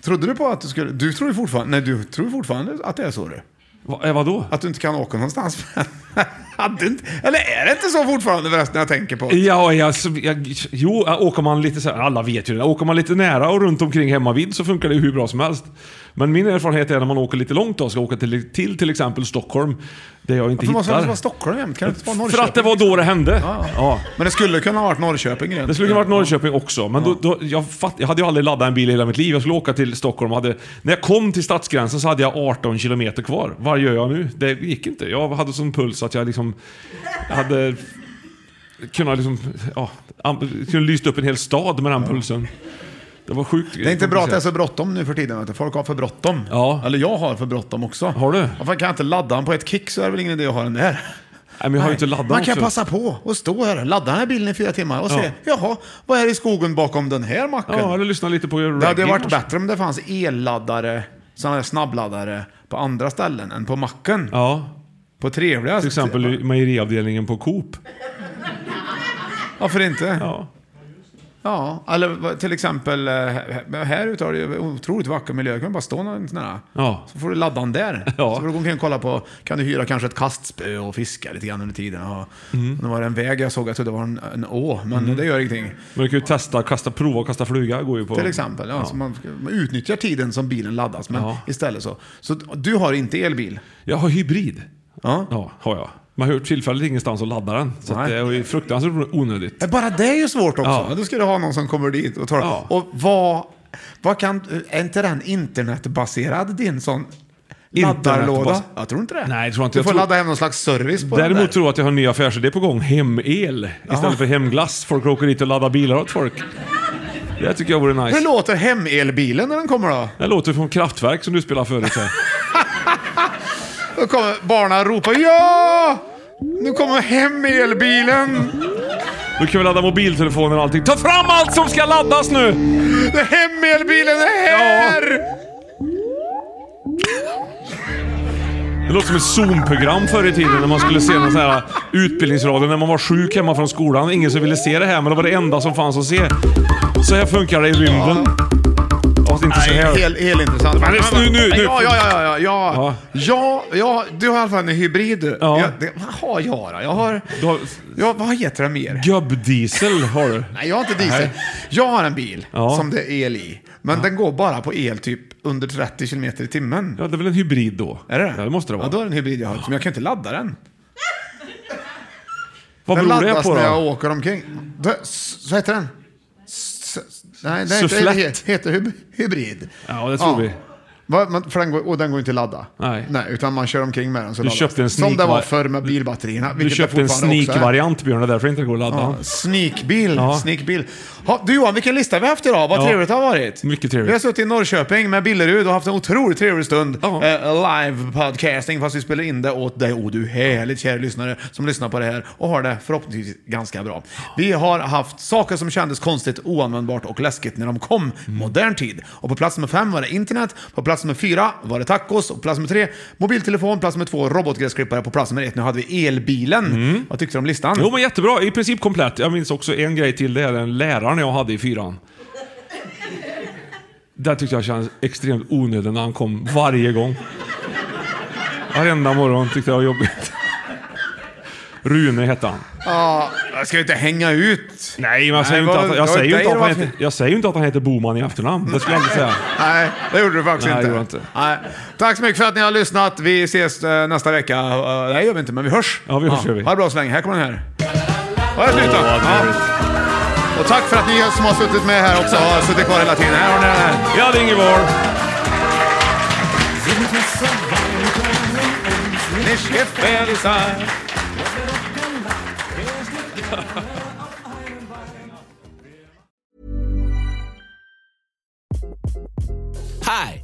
trodde du på att du skulle... Du tror ju fortfarande, nej, du tror ju fortfarande att det är så du. Va, eh, vadå? Att du inte kan åka någonstans. Hade inte, eller är det inte så fortfarande förresten när jag tänker på det? Ja, ja, så, jag, jo, åker man lite så här, alla vet ju det. Åker man lite nära och runt omkring hemma vid så funkar det ju hur bra som helst. Men min erfarenhet är när man åker lite långt då, ska åka till till, till exempel Stockholm, där jag inte Varför måste det hittar. vara Stockholm jämt? Kan det inte vara För Norrköping? liksom? Ah. att det var då det hände. Ja, Men det skulle kunna ha varit Norrköping rent. Det skulle ju varit Norrköping också, men då, då, jag, fatt, jag hade ju aldrig laddat en bil i hela mitt liv. Jag skulle åka till Stockholm och hade... När jag kom till stadsgränsen så hade jag 18 kilometer kvar. Vad gör jag nu? Det gick inte. Jag hade sån puls att jag liksom... Hade... Kunnat liksom... Ja, am- kunnat lyst upp en hel stad med den pulsen. Det var sjukt. Det är inte bra att det är så bråttom nu för tiden. Vet du. Folk har för bråttom. Ja. Eller jag har för bråttom också. Har du? Varför kan jag inte ladda den på ett kick så är det väl ingen idé att ha den där. Nej, men jag har ju inte laddat Man kan också. passa på och stå här, ladda den här bilen i fyra timmar och Ja. se, jaha, vad är det i skogen bakom den här macken? Ja, eller lyssna lite på det hade ju varit bättre om det fanns elladdare, sådana här snabbladdare, på andra ställen än på macken. Ja. På trevliga Till exempel i mejeriavdelningen på Coop. Varför inte? Ja. Ja, eller vad- till exempel eh, här här ute har du ju otroligt vacker miljö. Du kan bara stå någon nära. Ja. Så får du ladda den där. Så får du gå omkring och kolla på, kan du hyra kanske ett kastspö och fiska lite grann under tiden. Ja. Nu var det en väg jag såg, jag trodde det var en, en å, men det gör ingenting. Men du kan ju testa, kasta, prova och kasta fluga. Går ju på... Till exempel. Ja, Så man, man utnyttjar tiden som bilen laddas, men Ja. istället så. Så du har inte elbil? Jag har hybrid. Ja. Ja, har jag. Man hör tillfälligt ingenstans att ladda den. Så att Nej. det är ju fruktansvärt onödigt. Men Bara det är ju svårt också. Ja. Då ska du ha någon som kommer dit och tar Ja. Och vad, vad kan... Är inte den internetbaserad, din sån laddarlåda? Internetbas- Jag tror inte det. Nej, det tror jag inte. Du Jag får tror- ladda hem någon slags service på den Däremot där. tror jag att jag har en ny affärsidé på gång. Hemel Jaha. istället för hemglass. Folk åker dit och laddar bilar åt folk. Det tycker jag vore Hur nice. låter hemelbilen när den kommer då? Det låter från Kraftwerk som du spelade förut. här. Då kommer barnen ropa ja! Nu kommer hemelbilen! Nu kan vi ladda mobiltelefoner och allting. Ta fram allt som ska laddas nu! Hemelbilen är här! Det låter som ett Zoom-program förr i tiden när man skulle se någon sån här utbildningsradio när man var sjuk hemma från skolan. Ingen som ville se det här, men det var det enda som fanns att se. Så här funkar det i rymden. Fast inte så Nej, här. Helt, helt intressant. Men lyssna nu, nu, nu. Ja, ja, ja, ja, ja. ja. ja du har i alla fall en hybrid du. Ja. Jag, det, vad har jag då? Jag har... ja, vad heter det mer? Gubbdiesel har du. Nej, jag har inte diesel. Jag har en bil Ja. som det är el i. Men den går bara på el typ under 30 km i timmen. Ja, det är väl en hybrid då? Är det Ja, det måste det vara. Ja, då är det en hybrid jag har. Men jag kan inte ladda den. Vad den beror det laddas på när då? jag åker omkring. Då, s- vad heter den? S- s- Nej, det Sufflett. heter, heter hyb- hybrid. Ja, det tror vi. Va, man, för den går, och den går inte att ladda. Nej. utan man kör omkring med den så Du laddas köpte en den. Som sneak- det var förr med bilbatterierna. Du vilket det köpte en fortfarande också är. sneak-variant Björn, det är därför det inte går att ladda. Ja, sneakbil. Ja. sneakbil. Ha, du Johan, vilken lista vi har haft idag. Vad Ja. trevligt det har varit. Mycket Vi trevligt. har suttit i Norrköping med Billerud och haft en otroligt trevlig stund. Eh, live podcasting, fast vi spelar in det åt dig. Och du härligt kära lyssnare som lyssnar på det här och har det förhoppningsvis ganska bra. Vi har haft saker som kändes konstigt, oanvändbart och läskigt när de kom. Mm. Modern tid. Och på plats nummer fem var det internet. På plats nummer fyra var det tacos. Och på plats nummer tre mobiltelefon. Plats nummer två robotgräsklippare. På plats nummer ett nu hade vi elbilen. Vad tyckte du om listan? Mm. Jo men jättebra, i princip komplett. Jag minns också en grej till, det är den läraren jag hade i fyran. Den tyckte jag kändes extremt onödig när han kom varje gång. Varenda morgon tyckte jag var jobbigt. Rune hette han. Ja, jag ska ju inte hänga ut. Nej, men alltså, Jag säger ju inte att- jag säger ju inte att han heter- jag säger ju inte att han heter Boman i efternamn. Det skulle jag aldrig säga. Nej, det gjorde du faktiskt Nej, det inte. gjorde jag inte. Nej. Tack så mycket för att ni har lyssnat. Vi ses eh, nästa vecka. Eh, nej, gör vi inte, men vi hörs. Ja, vi hörs, gör vi. Ha det bra så länge. Här kommer den här. Ja, jag slutar. ja. Och tack för att ni som har suttit med här också har suttit kvar hela tiden. Här har ni den här. Ja, det är Ingeborg. Ni är bebisar. Hi,